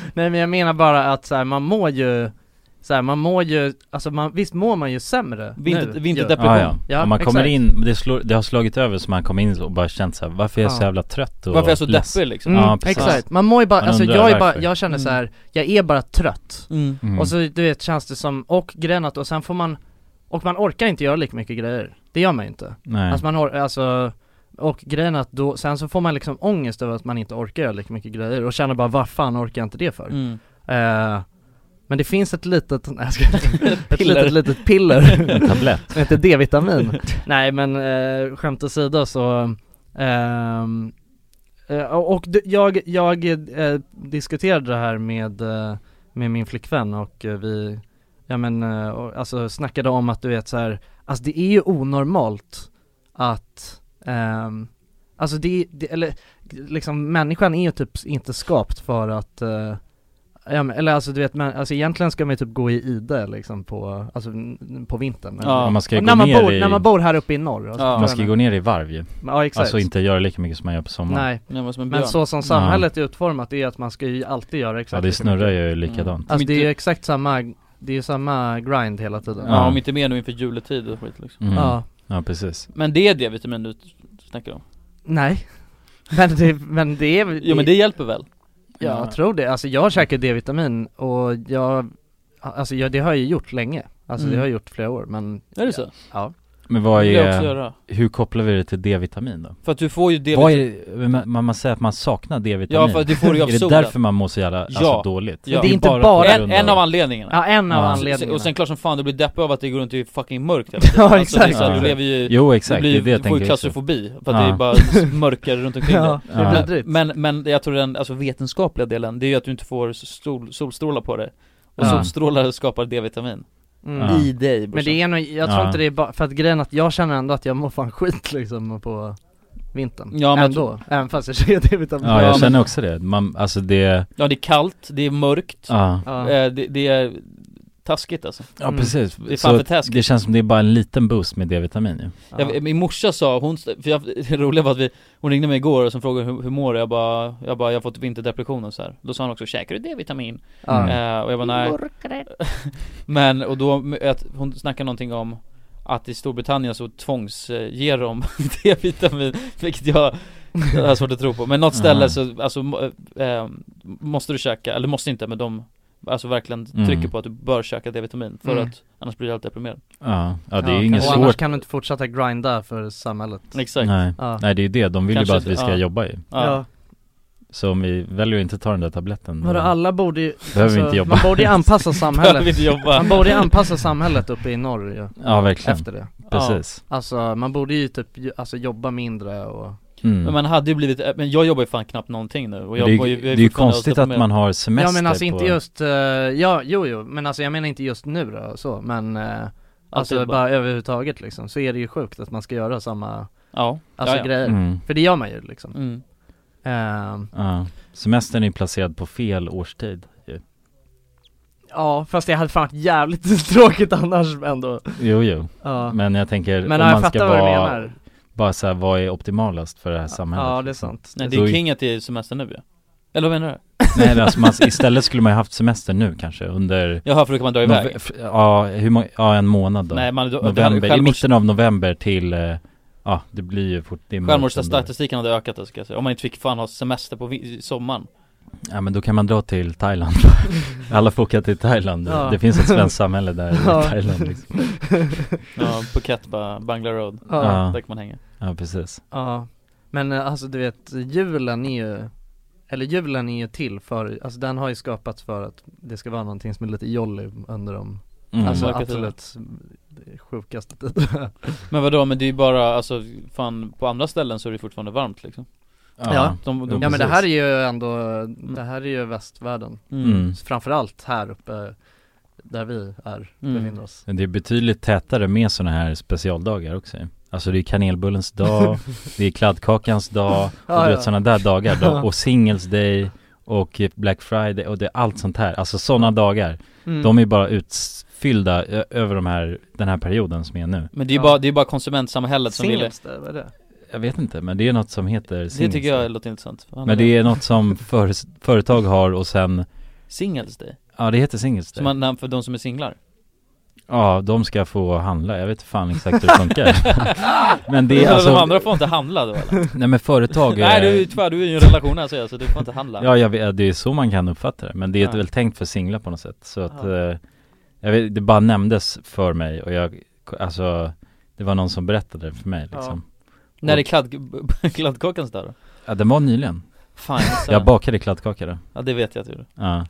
S3: Nej men jag menar bara att så här, man mår ju, så här, man mår ju, alltså man, visst mår man ju sämre
S6: Vinter-
S3: nu,
S6: vinterdepp-
S3: ju.
S2: Ja, Ah, ja.
S3: Ja,
S2: Om man kommer
S3: exakt.
S2: in, det, slår, det har slagit över så man kommer in och bara känt så här, varför är jag
S3: Ja.
S2: så jävla trött och
S6: Varför är jag så
S2: less?
S6: deppig liksom?
S3: Mm,
S2: Ja, precis.
S3: exakt, Mm. man mår ju bara,
S2: Man
S3: alltså
S2: undrar
S3: jag är bara,
S2: varför.
S3: jag känner så här, jag är bara trött
S6: Mm.
S2: Mm.
S3: Och så du vet känns det som, och grejen att, och sen får man, och man orkar inte göra lika mycket grejer. Det gör man ju inte.
S2: Nej,
S3: Alltså man har, alltså, och grejen att då, sen så får man liksom ångest över att man inte orkar göra lika mycket grejer och känner bara vad fan orkar jag inte det för?
S6: Mm.
S3: Eh, men det finns ett litet, nej jag ska, ett
S6: Piller.
S3: litet, litet piller,
S2: en tablett
S3: som heter D-vitamin. nej men eh, skämt åsido så, ehm, eh, och d- jag, jag eh, diskuterade det här med, eh, med min flickvän och eh, vi, ja men eh, och, alltså snackade om att du vet så här, alltså det är ju onormalt att, ehm, alltså det, det, eller liksom människan är ju typ inte skapt för att eh, Ja, men, eller alltså du vet, men, alltså egentligen ska man ju typ gå i ide liksom på, alltså n- på vintern
S6: Ja,
S2: Om man ska
S3: och
S2: gå
S3: när, man
S2: ner
S3: bor,
S2: i,
S3: när man bor här uppe i norr alltså,
S6: Ja.
S2: man ska gå ner i varv ju
S3: Ja exakt
S2: Alltså inte göra lika mycket som man gör på sommaren
S3: Nej,
S6: Jag var som en björn
S3: men så som samhället är utformat är att man ska ju alltid göra exakt
S2: Ja det
S3: lika
S2: snurrar
S3: mycket.
S2: ju
S6: Mm.
S2: Mm. likadant
S3: Alltså det är ju
S6: Inte-
S3: exakt samma, det är ju samma grind hela tiden
S6: Ja om inte mer nu inför juletid och skit liksom
S2: mm. ja.
S3: Ja.
S2: precis
S6: Men det är D-vitamin du snackar om?
S3: Nej Men det, men det är
S6: Jo men det hjälper väl?
S3: Ja, jag tror det. Alltså jag käkar D-vitamin och jag, alltså jag, det har jag ju gjort länge. Alltså
S6: Mm.
S3: det har jag gjort flera år men
S6: Är det så?
S3: ja.
S2: Men vad
S6: Det vill jag också
S2: är,
S6: göra
S2: hur kopplar vi det till D-vitamin då?
S6: För att du får ju
S2: Vad är
S6: D-vitamin
S2: det, man, man säger att man saknar D-vitamin
S6: Ja för att du får det ju av
S2: Är det
S6: solen
S2: därför man mår så jävla, alltså
S6: Ja.
S2: dåligt?
S6: Ja. Det är
S3: inte
S2: på
S3: bara-
S2: grund
S6: en, en av anledningarna
S3: Ja en av
S2: Ja.
S3: anledningarna.
S6: Och sen klart som fan du blir deppig av att det går runt i fucking mörkt hela tiden.
S3: Ja,
S6: Alltså, det är
S3: exakt.
S6: så här,
S2: Ja.
S6: Du lever ju,
S2: Jo exakt,
S6: du, blir,
S2: det är det jag
S6: du får ju
S2: tänker också
S6: klaustrofobi för att
S2: Ja.
S6: det är bara mörkare runt omkring dig
S3: ja, det är
S2: Ja.
S3: vidrigt.
S6: men, men jag tror den alltså vetenskapliga delen, det är ju att du inte får sol, solstrålar på dig Och
S2: Ja.
S6: solstrålar skapar D-vitamin
S3: mm.
S2: Ja.
S6: I dig
S3: Men det är nog, jag tror
S2: Ja.
S3: inte det är bara, för att grejen är att jag känner ändå att jag mår fan skit liksom på vintern.
S6: Ja, men jag
S3: ändå. Även fast jag typ käkar D-vitamin.
S2: Ja jag
S6: Ja, men- Mm.
S2: känner också det, man, alltså det,
S6: Ja det är kallt, det är mörkt,
S2: ja
S3: Ja.
S6: eh, det, det är taskigt alltså
S2: Ja
S3: Mm.
S2: precis,
S6: Det är fan
S2: så
S6: för taskigt.
S2: det känns som det är bara en liten boost med D-vitamin ju
S3: Ja.
S6: jag, Min morsa sa, hon, för jag, det roliga var att vi, hon ringde mig igår och som frågade hur, hur mår du? Jag bara, jag bara, jag har fått vinterdepression och så här. Då sa hon också, käkar du D-vitamin?
S3: Ja.
S2: Mm.
S6: Eh, och jag bara nej Men, och då, m- att hon snackade någonting om att i Storbritannien så tvångsger de D-vitamin, vilket jag, jag har svårt att tro på. Men något ställe
S2: Aha.
S6: så, alltså, må- eh, måste du käka, eller måste inte, men de Alltså verkligen
S2: Mm.
S6: trycker på att du bör käka D-vitamin för
S3: Mm.
S6: att annars blir du helt deprimerad
S2: Ja, ja det är ju
S3: Ja,
S2: inget
S3: Och annars
S2: svårt
S3: kan du inte fortsätta grinda för samhället.
S6: Exakt
S2: Nej.
S3: Ja.
S2: Nej det är ju det, de vill
S6: Kanske
S2: ju bara att vi ska
S6: inte- ja.
S2: jobba ju
S6: Ja.
S2: Så om vi väljer att inte ta den där tabletten
S3: Vadå, alla borde ju, alltså,
S2: Behöver vi Mm. inte jobba.
S3: man borde ju anpassa
S6: Behöver
S3: samhället.
S6: inte jobba
S3: Man borde ju anpassa samhället uppe i norr ju,
S2: Ja verkligen,
S3: efter det.
S2: precis
S3: Alltså man borde ju typ, ju- alltså jobba mindre och
S2: mm.
S6: Men man hade ju blivit, eh, men jag jobbar ju fan knappt någonting nu och
S2: Det
S6: jag,
S2: är,
S6: och
S2: ju-
S6: jag
S2: det är ju
S6: fortfarande
S2: konstigt att
S6: deprimerad.
S2: man har semester
S3: Ja men alltså
S2: på...
S3: inte just, eh, ja jo jo, men alltså jag menar inte just nu då så, men eh, Alltså
S6: Alltid
S3: bara.
S6: bara-
S3: överhuvudtaget liksom, så är det ju sjukt att man ska göra samma,
S6: Ja,
S3: alltså
S6: ja, ja.
S3: grejer
S2: mm.
S3: För det gör man ju liksom
S6: Mm.
S3: Ehm,
S2: ja. Semestern är ju placerad på fel årstid ju.
S3: Ja fast det hade fan varit jävligt tråkigt annars ändå
S2: Jo jo,
S3: Ja
S2: men jag tänker
S3: Men
S2: om
S3: ja, jag
S2: man ska
S3: fattar vad du
S2: vara,
S3: menar
S2: bara såhär, vad är optimalast för det här samhället?
S3: Ja det är
S2: liksom?
S3: sant
S6: Nej det
S2: Så-
S6: är king att det är semester nu ja. Eller vad menar du?
S9: Nej men alltså man, istället skulle man ju haft semester nu kanske under
S6: Jaha, för då kan man dra iväg.
S9: Nove- f- Ja, hur många, ja en månad då
S6: Nej, man- då-
S9: november,
S6: självmords-
S9: I mitten av november till, eh, ja det blir ju fort det är mörkt ändå.
S6: Självmordsstatistiken hade ökat då, ska jag säga. Om man inte fick fan ha semester på vi- sommaren.
S9: Ja men då kan man dra till Thailand Alla får åka till Thailand,
S6: Ja.
S9: det finns ett svenskt samhälle där
S6: Ja.
S9: i Thailand liksom.
S6: Ja, Phuket, ba- Bangla Road.
S3: Ja.
S9: Ja.
S6: Där kan man hänga.
S9: Ja precis
S3: Ja, men eh, alltså du vet, julen är ju eller julen är ju till för, alltså den har ju skapats för att det ska vara någonting som är lite jolly under de,
S6: Mm.
S3: alltså
S6: Mörka
S3: absolut sjukaste tiderna
S6: Men vadå, men det är ju bara, alltså fan på andra ställen så är det fortfarande varmt liksom
S3: Ja,
S6: de, de,
S3: ja men det här är ju ändå, det här är ju västvärlden
S9: Mm.
S3: Framförallt här uppe där vi är, befinner oss
S9: Men det är betydligt tätare med sådana här specialdagar också ju. Alltså det är kanelbullens dag, det är kladdkakans dag och
S3: Ja,
S9: du
S3: ja.
S9: vet sådana där dagar
S3: Ja.
S9: då, och singles day och black friday och det är allt sånt här, alltså sådana dagar
S6: Mm.
S9: De är bara utfyllda ö- över de här, den här perioden som är nu
S6: Men det är ju bara, det är bara konsumentsamhället som ville
S3: Singles day, vad är det?
S9: Jag vet inte men det är något som heter
S6: Det
S9: singles
S6: tycker jag låter intressant Vad handlar
S9: Men det är något som för, företag har och sen
S6: Singles day?
S9: Ja det heter singles day.
S6: Som man, namn för de som är singlar?
S9: Ja de ska få handla, jag vet fan exakt hur det funkar Men det är
S6: De
S9: alltså
S6: andra får inte handla då eller?
S9: Nej men företag
S6: Nej
S9: är-
S6: du, är ju tyvärr, du är ju i en relation här säger jag, så du får inte handla
S9: Ja jag vet, det är så man kan uppfatta det Men det är
S6: Ja.
S9: väl tänkt för singlar på något sätt Så att
S6: Ja.
S9: eh, jag vet, Det bara nämndes för mig och jag Alltså Det var någon som berättade det för mig liksom
S6: När är kladd, kladdkakans dag då?
S9: Ja den var nyligen
S6: Fan, jag missade
S9: Jag
S6: den.
S9: bakade kladdkaka då
S6: Ja, det vet jag att du gjorde.
S9: Ja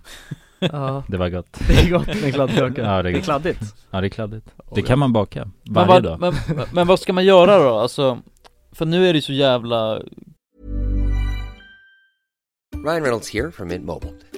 S3: Ja.
S9: Det var gott
S3: Det är gott med kladdkaka.
S9: Ja det är,
S3: Det är
S9: gott.
S3: kladdigt.
S9: Ja det är kladdigt Det kan man baka
S6: Men
S9: varje
S6: vad,
S9: dag
S6: men, men vad ska man göra då? Alltså, för nu är det ju så jävla
S10: Ryan Reynolds here from Mint Mobile.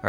S10: All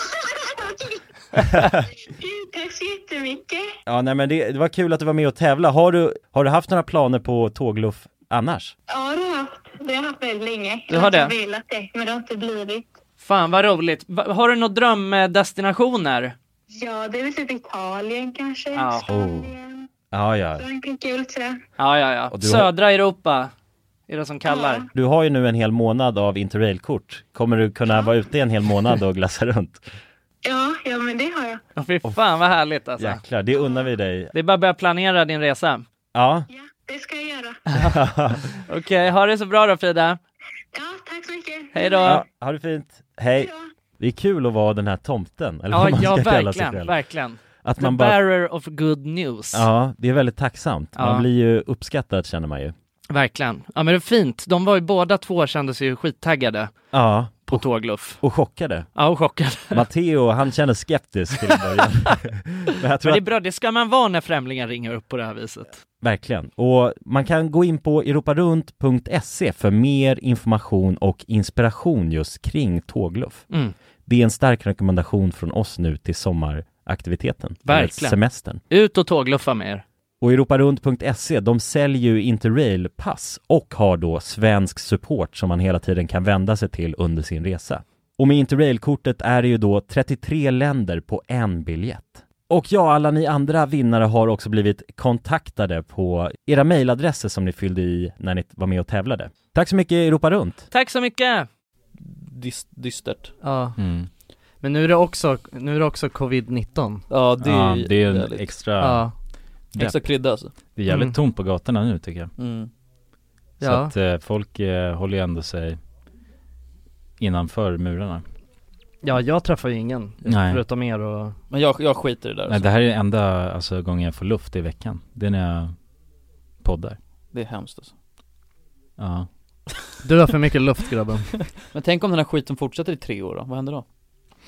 S11: Tack så jättemycket.
S2: Ja, nej men det, det var kul att du var med och tävla. Har du, har du haft några planer på tågluff annars?
S11: Ja, det har jag haft. Det har jag haft väldigt länge.
S3: Du har
S11: Jag
S3: det?
S11: har velat det, men det har inte blivit.
S3: Fan vad roligt. Va- Har du några drömdestinationer?
S11: Ja, det är väl typ Italien kanske.
S3: Ja.
S2: Oh. Ja, ja.
S11: Frankrike, kul tror jag.
S3: Ja, ja, ja.
S2: du har-
S3: Södra Europa är det som kallar.
S2: Du har ju nu en hel månad av interrailkort. Kommer du kunna vara ute en hel månad och glassa runt?
S11: Ja, ja, men det har jag.
S3: Åh, Fy fan vad härligt alltså.
S2: Jäklar, det unnar vi dig.
S3: Det är bara att börja planera din resa.
S2: Ja.
S11: Det ska jag göra.
S3: Okej, ha det så bra då Frida.
S11: Ja, tack så mycket.
S3: Hej då.
S2: ja ha det fint. Hej. Det är kul att vara den här tomten, eller
S3: Ja,
S2: vad man
S3: ja
S2: ska kalla sig
S3: verkligen,
S2: själv.
S3: verkligen.
S2: Att
S3: The
S2: man bara-
S3: bearer of good news.
S2: Ja, det är väldigt tacksamt. Man
S3: Ja.
S2: blir ju uppskattad känner man ju.
S3: Verkligen. Ja men det är fint. De var ju båda två kände sig ju skittaggade.
S2: Ja. På
S3: tågluff.
S2: Och chockade.
S3: Ja, och chockade.
S2: Matteo, han känner skeptisk till en början. Men jag tror
S3: men det är
S2: att-
S3: bra, det ska man vara när främlingar ringer upp på det här viset.
S2: Verkligen. Och man kan gå in på europarunt.se E för mer information och inspiration just kring tågluff.
S3: Mm.
S2: Det är en stark rekommendation från oss nu till sommaraktiviteten. eller
S3: Verkligen.
S2: Semestern.
S3: Ut och tågluffa med er.
S2: Och europarunt.se, E, de säljer ju Interrail-pass och har då svensk support som man hela tiden kan vända sig till under sin resa. Och med Interrail-kortet är det ju då 33 länder på en biljett. Och ja, alla ni andra vinnare har också blivit kontaktade på era mejladresser som ni fyllde i när ni var med och tävlade. Tack så mycket Europa Runt!
S3: Tack så mycket!
S6: Dys- dystert
S3: Ja.
S2: Mm.
S3: Men nu är det också, nu är det också covid-19.
S6: Ja det är,
S9: Ja, det är en
S6: jävligt.
S9: extra-
S3: Ja.
S9: Depp.
S6: Extra krydda alltså
S9: Det är jävligt
S6: Mm.
S9: tomt på gatorna nu tycker jag.
S6: Mm.
S9: Så
S6: Ja.
S9: att eh, folk eh, håller ju ändå sig innanför murarna.
S3: ja, jag träffar ju ingen.
S9: Nej.
S3: Förutom er och...
S6: Men jag, jag skiter i det där
S9: Nej, det här är enda alltså, gången jag får luft i veckan. Det är när jag poddar.
S6: Det är hemskt alltså
S9: Ja.
S3: Du har för mycket luft grabben
S6: Men tänk om den här skiten fortsätter i tre år då, vad händer då?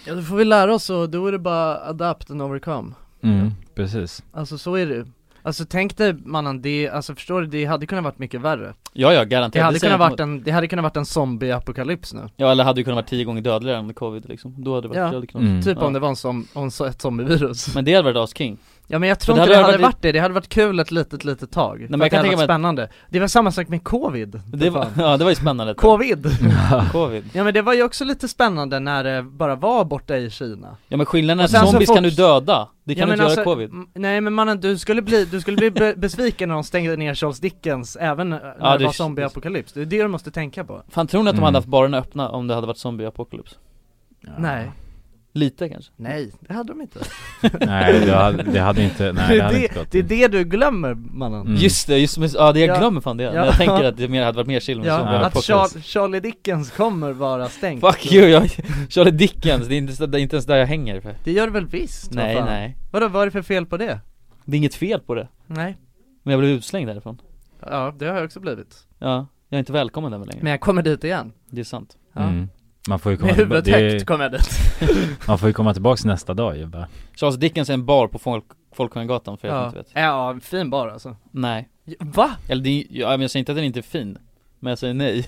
S3: Ja, då får vi lära oss och då är det bara adapt and overcome.
S9: Mm, precis.
S3: Alltså så är det ju. Alltså tänk dig mannen, det, alltså förstår du, det hade kunnat varit mycket värre.
S6: Ja ja, garanterat
S3: Det hade,
S6: säger
S3: kunnat
S6: jag Mm.
S3: varit en, det hade kunnat varit en zombie-apokalyps nu.
S6: Ja eller hade ju kunnat vara tio gånger dödligare än covid liksom, då hade det varit
S3: Ja,
S6: det hade kunnat...
S3: Mm. typ om det var en som, om så, ett zombievirus
S6: Men det hade varit asking
S3: Ja men jag tror
S6: det
S3: inte det hade varit,
S6: varit-
S3: det, det hade varit kul ett litet, litet tag. Nej, men
S6: men jag
S3: jag det
S6: kan
S3: hade
S6: tänka mig
S3: varit
S6: att-
S3: spännande. Det var samma sak med covid.
S6: det var, Mm. Ja det var ju spännande
S3: Covid!
S6: Covid
S3: Ja men det var ju också lite spännande när det bara var borta i Kina.
S6: Ja men skillnaden är
S3: Och sen
S6: att
S3: så
S6: zombies
S3: fort-
S6: kan du döda, det kan
S3: Ja,
S6: du
S3: men alltså,
S6: inte göra covid
S3: m- Nej men mannen, du skulle bli, du skulle bli be- besviken när de stängde ner Charles Dickens även när
S6: Ja,
S3: det
S6: det-
S3: var zombieapokalyps. Det är det du måste tänka på.
S6: Fan tror ni att de
S3: Mm.
S6: hade haft barerna öppna om det hade varit zombie apocalypse?
S3: Nej.
S6: Lite kanske?
S3: Nej, det hade de inte.
S9: Nej, det hade- det hade inte- nej, det hade
S3: är
S9: inte gått. Mm.
S3: Det är det du glömmer mannen.
S2: Mm.
S6: Just det, just det, ja det jag
S3: Ja.
S6: glömmer fan det, men
S3: Ja.
S6: jag tänker att det mer hade varit mer chill med
S3: Ja,
S6: zombie
S3: att
S6: apocalypse
S3: Char- Charlie Dickens kommer vara stängt.
S6: Fuck you, jag, Charlie Dickens, det är inte, det är inte ens där jag hänger för.
S3: Det gör det väl visst?
S6: Nej,
S3: vad fan?
S6: nej.
S3: Vadå, vad är det för fel på det?
S6: Det är inget fel på det
S3: Nej.
S6: Men jag blev utslängd därifrån
S3: Ja, det har jag också blivit.
S6: Ja, jag är inte välkommen där längre
S3: Men jag kommer dit igen.
S6: Det är sant
S9: Mm. Man får ju komma
S3: Med huvudet
S9: tillba- det är-
S3: högt kommer jag dit.
S9: Man får ju komma tillbaks nästa dag ju bara.
S6: Charles Dickens alltså, är en bar på folk, Folkungagatan för jag
S3: Ja.
S6: inte vet
S3: ja, fin bar alltså.
S6: Nej
S3: Va?
S6: Eller det är, ja, men jag säger inte att den inte är fin Men jag säger nej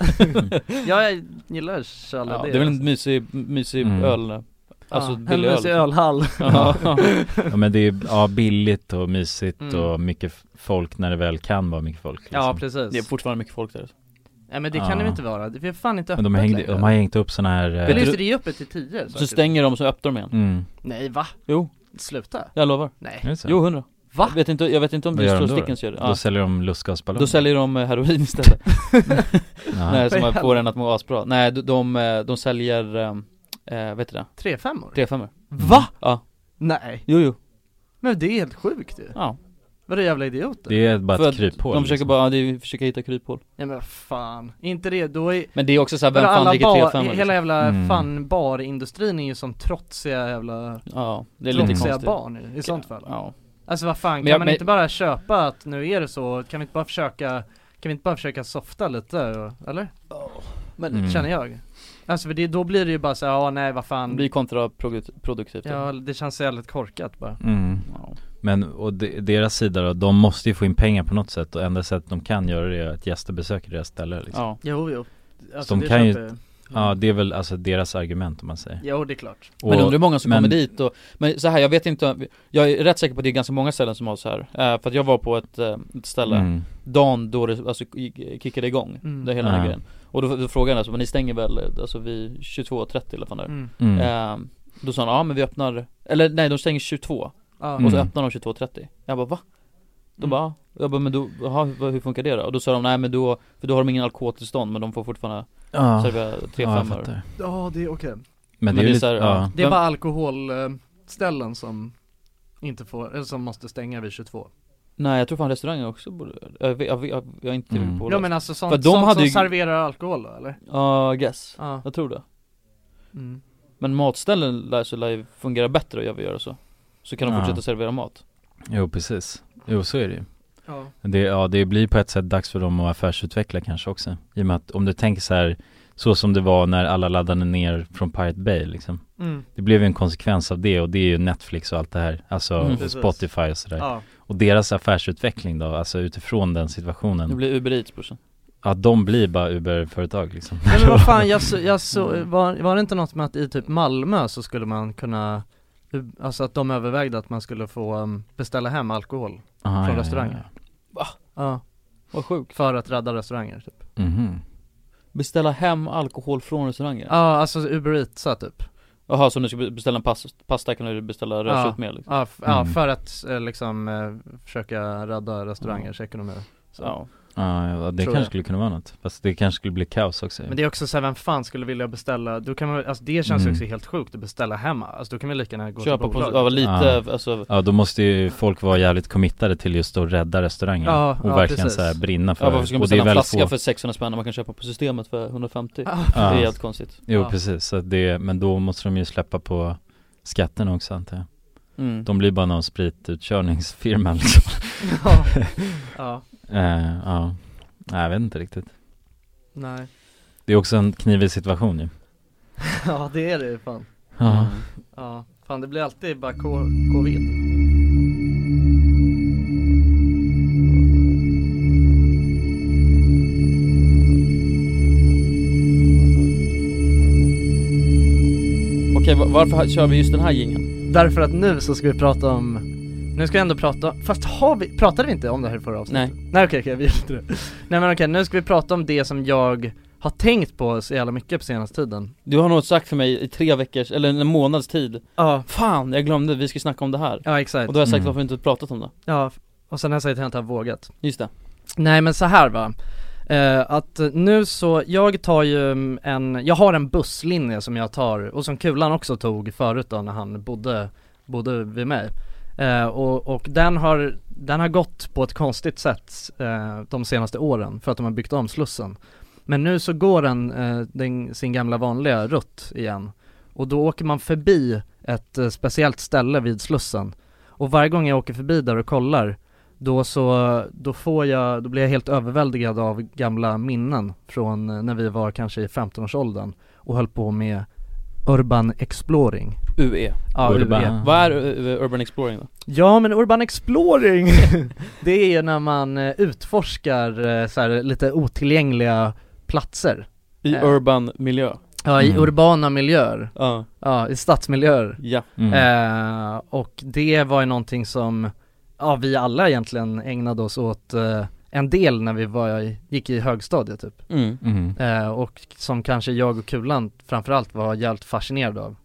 S3: Ja, jag gillar Charlie
S6: ja,
S3: Dickens.
S6: Det är väl en mysig, mysig
S9: Mm.
S6: öl Alltså
S3: alltså. Ja, en
S6: billig öl
S3: mysig ölhall.
S6: Ja.
S9: ja men det är ja, billigt och mysigt
S3: Mm.
S9: och mycket f- folk när det väl kan vara mycket folk. liksom.
S3: Ja, precis.
S6: Det är fortfarande mycket folk där
S3: Nej men det kan
S9: Ja.
S3: det väl inte vara? Det är fan inte öppet
S9: Men de, hängde,
S3: längre.
S9: de har hängt upp såna här... eh,
S3: Eller just det, det är ju öppet till 10
S6: Så stänger de så öppnar de igen
S9: Mm.
S3: Nej va?
S6: Jo
S3: Sluta?
S6: Jag lovar
S3: Nej.
S6: Mm.
S9: Är det så?
S6: Jo, hundra Va? Jag vet inte, jag vet inte om
S2: Vad gör de
S6: Bruce
S2: då?
S6: Dickens gör det.
S2: Då säljer de lustgasballonger.
S6: Då säljer de eh, heroin istället. Nej, som
S3: Vad i
S6: får en att må asbra. Nej, de, de, eh, de säljer, äh, vet du det?
S3: Tre femmor?
S6: Tre femmor.
S3: Va?
S6: Ja.
S3: Nej.
S6: Jo, jo.
S3: Men det är helt sjukt ju.
S6: Ja.
S3: Vad är jävla idioter?
S2: Det är bara
S6: För
S2: ett
S6: att
S2: kryphål. liksom.
S6: De
S9: liksom.
S6: försöker bara, ja, det är, försöker hitta kryphål.
S3: Ja men fan, inte det, då är
S6: Men det är också så här, vem
S3: Vadå,
S6: fan
S3: alla
S6: dricker
S3: bar,
S6: tre femmor, liksom?
S3: Hela jävla
S6: Mm.
S3: fan barindustrin är ju som trotsiga jävla
S6: liksom? Ja, det är lite
S3: trotsiga
S6: konstigt.
S3: barn i, i sånt fall
S6: Ja.
S3: Alltså vad fan,
S6: Men
S3: kan
S6: jag-
S3: man
S6: men-
S3: inte bara köpa att nu är det så, kan vi inte bara försöka Kan vi inte bara försöka softa lite, och- eller?
S6: men-
S3: Mm. Känner jag Alltså för det, då blir det ju bara så här, ja nej vad fan
S6: Det blir kontraproduktivt.
S3: Ja det känns jävligt korkat bara
S2: Mm. Men och de, deras sida då, de måste ju få in pengar på något sätt och enda sättet de kan göra det är att gäster besöker deras ställe liksom.
S3: Ja. Jo, jo.
S2: Så
S3: Alltså,
S2: de
S3: det
S2: kan ju,
S3: köper-
S2: ja det är väl alltså deras argument om man säger.
S3: Jo, det är klart.
S6: men undrar hur många som
S2: men-
S6: kommer dit och, men så här, jag vet inte, jag är rätt säker på att det är ganska många ställen som har så här, eh, för att jag var på ett, eh, ett ställe,
S2: Mm.
S6: dagen då det alltså gick- kickade igång,
S2: Mm.
S6: det hela den
S2: Ja.
S6: här grejen Och då, då frågade jag alltså, men ni stänger väl, eh, alltså vid 22.30 eller vad fan det är?
S3: Mm.
S2: Mm.
S6: Eh, Då sa han, ja men vi öppnar, eller nej de stänger 22
S3: Ja.
S6: och så
S3: Mm.
S6: öppnar de 22.30 Jag bara va? De bara, "Ja." jag bara men då, aha, hur hur funkar det då? Och då sa de, nej men då, för då har de ingen alkoholtillstånd men de får fortfarande
S2: Ja.
S6: servera tre
S2: Ja, jag
S6: femmor
S2: fattar.
S3: Ja det är okej
S2: Men det är ju lite,
S6: så här,
S2: ja.
S3: Det är bara alkoholställen som inte får, eller som måste stänga vid 22
S6: Nej jag tror fan restauranger också borde, jag, vet- jag, vet- jag, jag är inte typ
S3: Mm.
S6: på
S3: Ja
S6: det.
S3: men alltså sånt,
S6: För
S3: sånt
S6: de hade
S3: som
S6: ju-
S3: serverar alkohol då, eller?
S6: Ja, I guess.
S3: Ja.
S6: Jag tror det.
S3: Mm.
S6: Men matställen lär, så lär ju fungera bättre och jag vill göra så. Så kan de
S2: Ja.
S6: fortsätta servera mat.
S2: Jo precis, jo så är det ju
S3: Ja.
S2: Det, ja, det blir på ett sätt dags för dem att affärsutveckla kanske också I och med att om du tänker så här Så som det var när alla laddade ner från Pirate Bay liksom
S3: Mm.
S2: Det blev ju en konsekvens av det och det är ju Netflix och allt det här Alltså
S6: Mm.
S2: och
S6: Precis.
S2: Spotify och sådär
S6: Ja.
S2: Och deras affärsutveckling då, alltså utifrån den situationen
S3: Mm.
S6: Det blir Uber Eats brorsan.
S2: Ja, de blir bara Uber-företag liksom
S3: Nej men vad fan, jag, så, jag så, var, var det inte något med att i typ Malmö så skulle man kunna Alltså att de övervägde att man skulle få um, beställa hem alkohol
S2: Aha, Ah, ja,
S3: från
S2: ja,
S3: restauranger
S6: Va?
S3: Ja
S6: Vad sjukt
S3: För att rädda restauranger typ
S2: Mhm.
S6: Beställa hem alkohol från restauranger?
S3: Ja alltså Uber Eats så typ
S6: Jaha, så om du ska beställa en pas- pasta kan du beställa rödsött med liksom?
S3: ja, f- ja
S6: Mm.
S3: för att eh, liksom eh, försöka rädda restaurangers ekonomi så.
S6: Ja.
S2: Ja, ja, det
S3: Tror
S2: kanske
S3: jag.
S2: skulle kunna vara något Fast det kanske skulle bli kaos också
S3: Men det är också såhär, vem fan skulle vilja beställa, då kan man, alltså det känns ju
S2: Mm.
S3: också helt sjukt att beställa hemma, alltså då kan man lika gärna gå
S6: Köpa på-
S3: till bolaget
S6: ja, lite,
S2: ja.
S6: alltså-
S2: ja, då måste ju folk vara jävligt committade till just att rädda restaurangen
S6: Ja,
S2: och
S6: ja,
S2: verkligen
S6: precis.
S2: så här brinna för
S6: Ja varför ska man
S2: och det
S6: beställa
S2: är
S6: en
S2: väldigt
S6: flaska för 600 spänn när man kan köpa på systemet för 150? Det
S2: Ja.
S6: är helt konstigt
S2: Jo precis, så att det, men då måste de ju släppa på skatten också antar jag
S6: Mm.
S2: De blir bara någon spritutkörningsfirma liksom
S3: Ja. Ja.
S2: Eh, ja. Nej, jag vet inte riktigt
S3: Nej.
S2: Det är också en knivig situation ju
S3: Ja det är det ju fan Mm.
S2: Ja.
S3: Ja, fan det blir alltid bara ko- covid
S6: Okej, va- varför ha- kör vi just den här jingeln?
S3: Därför att nu så ska vi prata om Nu ska vi ändå prata, fast har vi, pratade vi inte om det här i förra avsnittet? Nej Nej okej, okej, vi gjorde inte det Nej men okej, nu ska vi prata om det som jag har tänkt på så jävla mycket på senaste tiden
S6: Du har nog sagt för mig i tre veckors, eller en månads tid
S3: Ja
S6: Fan, jag glömde, vi ska snacka om det här
S3: Ja exakt
S6: Och då har jag sagt
S3: Mm.
S6: varför vi inte pratat om det
S3: Ja, och sen har jag sagt att jag inte har vågat
S6: Just det
S3: Nej men så här va Eh, att nu så, jag tar ju mm, en, jag har en busslinje som jag tar och som Kulan också tog förut då när han bodde, bodde vid mig Eh, och, och den har, den har gått på ett konstigt sätt eh, de senaste åren för att de har byggt om Slussen Men nu så går den, eh, den sin gamla vanliga rutt igen och då åker man förbi ett eh, speciellt ställe vid Slussen Och varje gång jag åker förbi där och kollar Då så, då får jag, då blir jag helt överväldigad av gamla minnen Från eh, när vi var kanske i 15-årsåldern Och höll på med Urban Exploring
S6: UE
S3: Ja, UE.
S6: Vad är eh, Urban Exploring då?
S3: Ja men urban exploring, det är ju när man eh, utforskar eh, så här, lite otillgängliga platser
S6: I
S3: Eh,
S6: urban miljö
S3: Ja i
S6: Mm.
S3: urbana miljöer,
S6: Ja.
S3: i stadsmiljöer
S6: Ja.
S2: Mm.
S6: Mm.
S3: eh, Och det var ju någonting som, ja vi alla egentligen ägnade oss åt eh, en del när vi var, i- gick i högstadiet typ
S6: Mm. Mm.
S3: eh, Och som kanske jag och Kulan framförallt var jävligt fascinerade av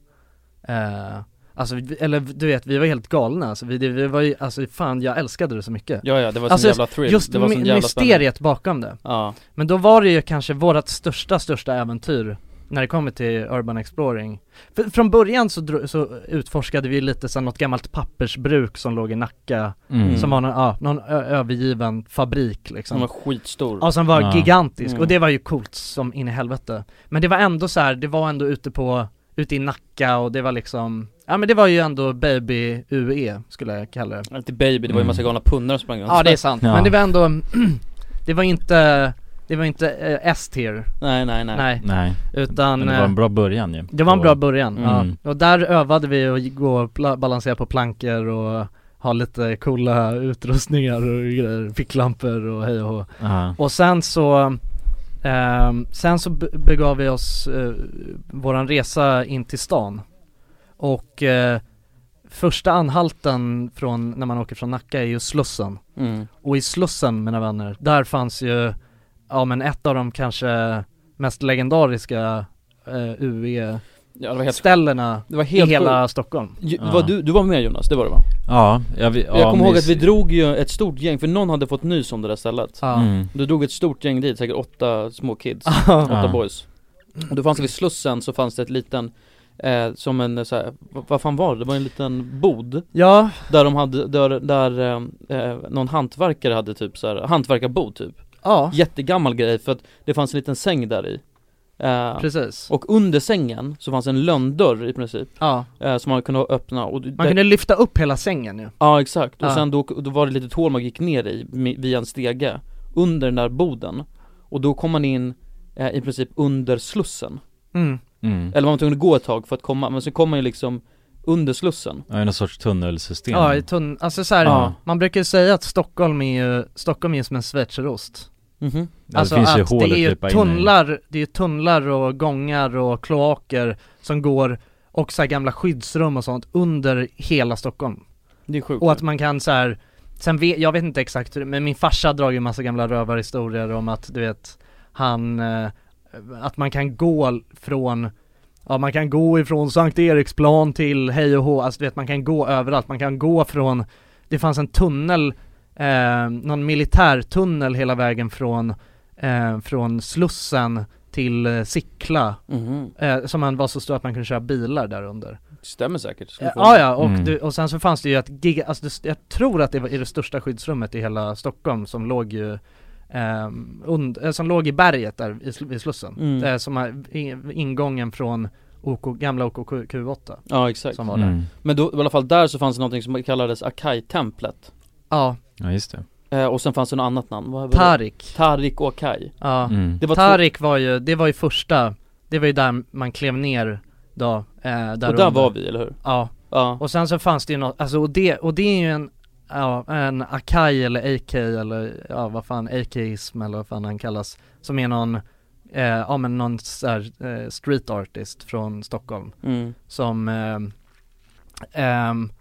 S3: eh, Alltså, vi- eller du vet, vi var helt galna alltså, vi, det- vi var ju, alltså fan jag älskade det så mycket
S6: Ja, ja, det var sån
S3: alltså,
S6: jävla thrill.
S3: Just
S6: Det var
S3: my-
S6: sån jävla
S3: mysteriet
S6: spänning.
S3: bakom det
S6: Ja.
S3: Men då var det ju kanske vårat största, största äventyr när det kommer till Urban Exploring För, Från början så, dro- så utforskade vi lite så här något gammalt pappersbruk som låg i Nacka
S6: Mm.
S3: Som var någon, ja, någon ö- övergiven fabrik liksom
S6: Som var skitstor.
S3: Ja som var
S6: Ja.
S3: gigantisk,
S6: Mm.
S3: och det var ju coolt som in i helvete Men det var ändå så här, det var ändå ute på, ute i Nacka och det var liksom Ja men det var ju ändå baby UE skulle jag kalla det
S6: Inte baby, det var ju en massa galna punnar som sprang runt
S3: Mm. Ja det är sant,
S6: Ja.
S3: men det var ändå, det var inte, det var inte eh, S-tier
S6: Nej, nej, nej.
S3: Nej,
S6: Nej.
S3: utan
S6: Men det var en
S3: eh,
S6: bra början ju.
S3: Det var en bra
S6: Och-
S3: början,
S6: Mm.
S3: ja Och där övade vi att gå och pla- balansera på plankor och ha lite coola utrustningar och grejer, ficklampor och hej och hå.
S2: Ja.
S3: Och sen så ehm, Sen så be- begav vi oss eh, våran resa in till stan Och eh, första anhalten från, när man åker från Nacka är ju Slussen
S6: Mm.
S3: Och i Slussen mina vänner, där fanns ju Ja men ett av de kanske mest legendariska eh, UE
S6: Ja, det var helt-
S3: ställena
S6: Det var helt
S3: i hela
S6: sjukt.
S3: Stockholm
S6: Ju, var du, du var med Jonas, det var det va?
S9: Ja, jag, vi- ja,
S6: jag kommer ihåg att
S9: mys-
S6: vi drog ju ett stort gäng, för någon hade fått nys om det där stället
S9: Ja. Mm.
S6: Då drog ett stort gäng dit, säkert åtta små kids,
S9: Ja.
S6: åtta
S9: Ja.
S6: boys Och då fanns det vid Slussen så fanns det ett liten Eh, som en eh, så här, vad, vad fan var det? Det var en liten bod
S3: Ja
S6: Där de hade, där, där eh, eh, någon hantverkare hade typ så här, hantverkarbod typ
S3: Ja
S6: Jättegammal grej för att det fanns en liten säng där i Eh,
S3: Precis.
S6: Och under sängen så fanns en lönndörr i princip
S3: Ja
S6: eh, Som man kunde öppna och
S3: Man kunde lyfta upp hela sängen ju
S6: Ja exakt, och
S3: Ja.
S6: sen då, då var det lite hål man gick ner i mi- via en stege Under den där boden Och då kom man in eh, i princip under slussen
S3: Mm.
S9: Mm.
S6: Eller man var tvungen att gå ett tag för att komma, men så kom man ju liksom under slussen
S9: Ja, i någon sorts tunnelsystem
S3: Ja, i tunn, alltså så här,
S9: Ja.
S3: man brukar ju säga att Stockholm är ju, Stockholm är ju som en schweizerost
S6: Mhm.
S9: Ja, det finns ju hål
S3: det
S9: att
S3: är ju
S9: krypa in i.
S3: tunnlar, det är ju tunnlar och gångar och kloaker som går och så här gamla skyddsrum och sånt under hela Stockholm
S6: Det är sjukt
S3: Och att man kan så här, sen vet, jag vet inte exakt hur, men min farsa drar ju en massa gamla rövarhistorier om att du vet, han, eh, att man kan gå från Ja man kan gå ifrån Sankt Eriksplan till hej och hå, alltså du vet man kan gå överallt, man kan gå från Det fanns en tunnel, eh, någon militärtunnel hela vägen från, eh, från Slussen till eh, Sickla
S6: Mhm.
S3: eh, Som man var så stor att man kunde köra bilar där under
S6: Stämmer säkert Skulle
S3: Eh,
S6: få-
S3: Ja, ja, och,
S6: Mm.
S3: du, och sen så fanns det ju ett giga, alltså det, jag tror att det var i det största skyddsrummet i hela Stockholm som låg ju ehm, und, eh, som låg i berget där i, sl- vid Slussen,
S6: Mm.
S3: eh, som är i- ingången från OK, gamla OKQ8
S6: Ja exakt
S3: Som var där. Mm.
S6: Men då, i alla fall där så fanns det någonting som kallades Akai-templet
S3: Ja
S9: Ja, just det
S6: eh, Och sen fanns det något annat namn, vad var det?
S3: Tarik.
S6: Tarik och Akai
S3: Ja,
S6: Det var två-
S3: Tarik var ju, det var ju första, det var ju där man klev ner då, eh, där
S6: Och där var vi, eller hur?
S3: Ja.
S6: ja,
S3: och sen så fanns det ju något, alltså och det, och det är ju en, ja, en Akai eller AK eller ja vad fan, AKism eller vad fan han kallas Som är någon, eh, ja men någon så här, eh, street artist från Stockholm
S6: Mm.
S3: Som, ehm, ehm,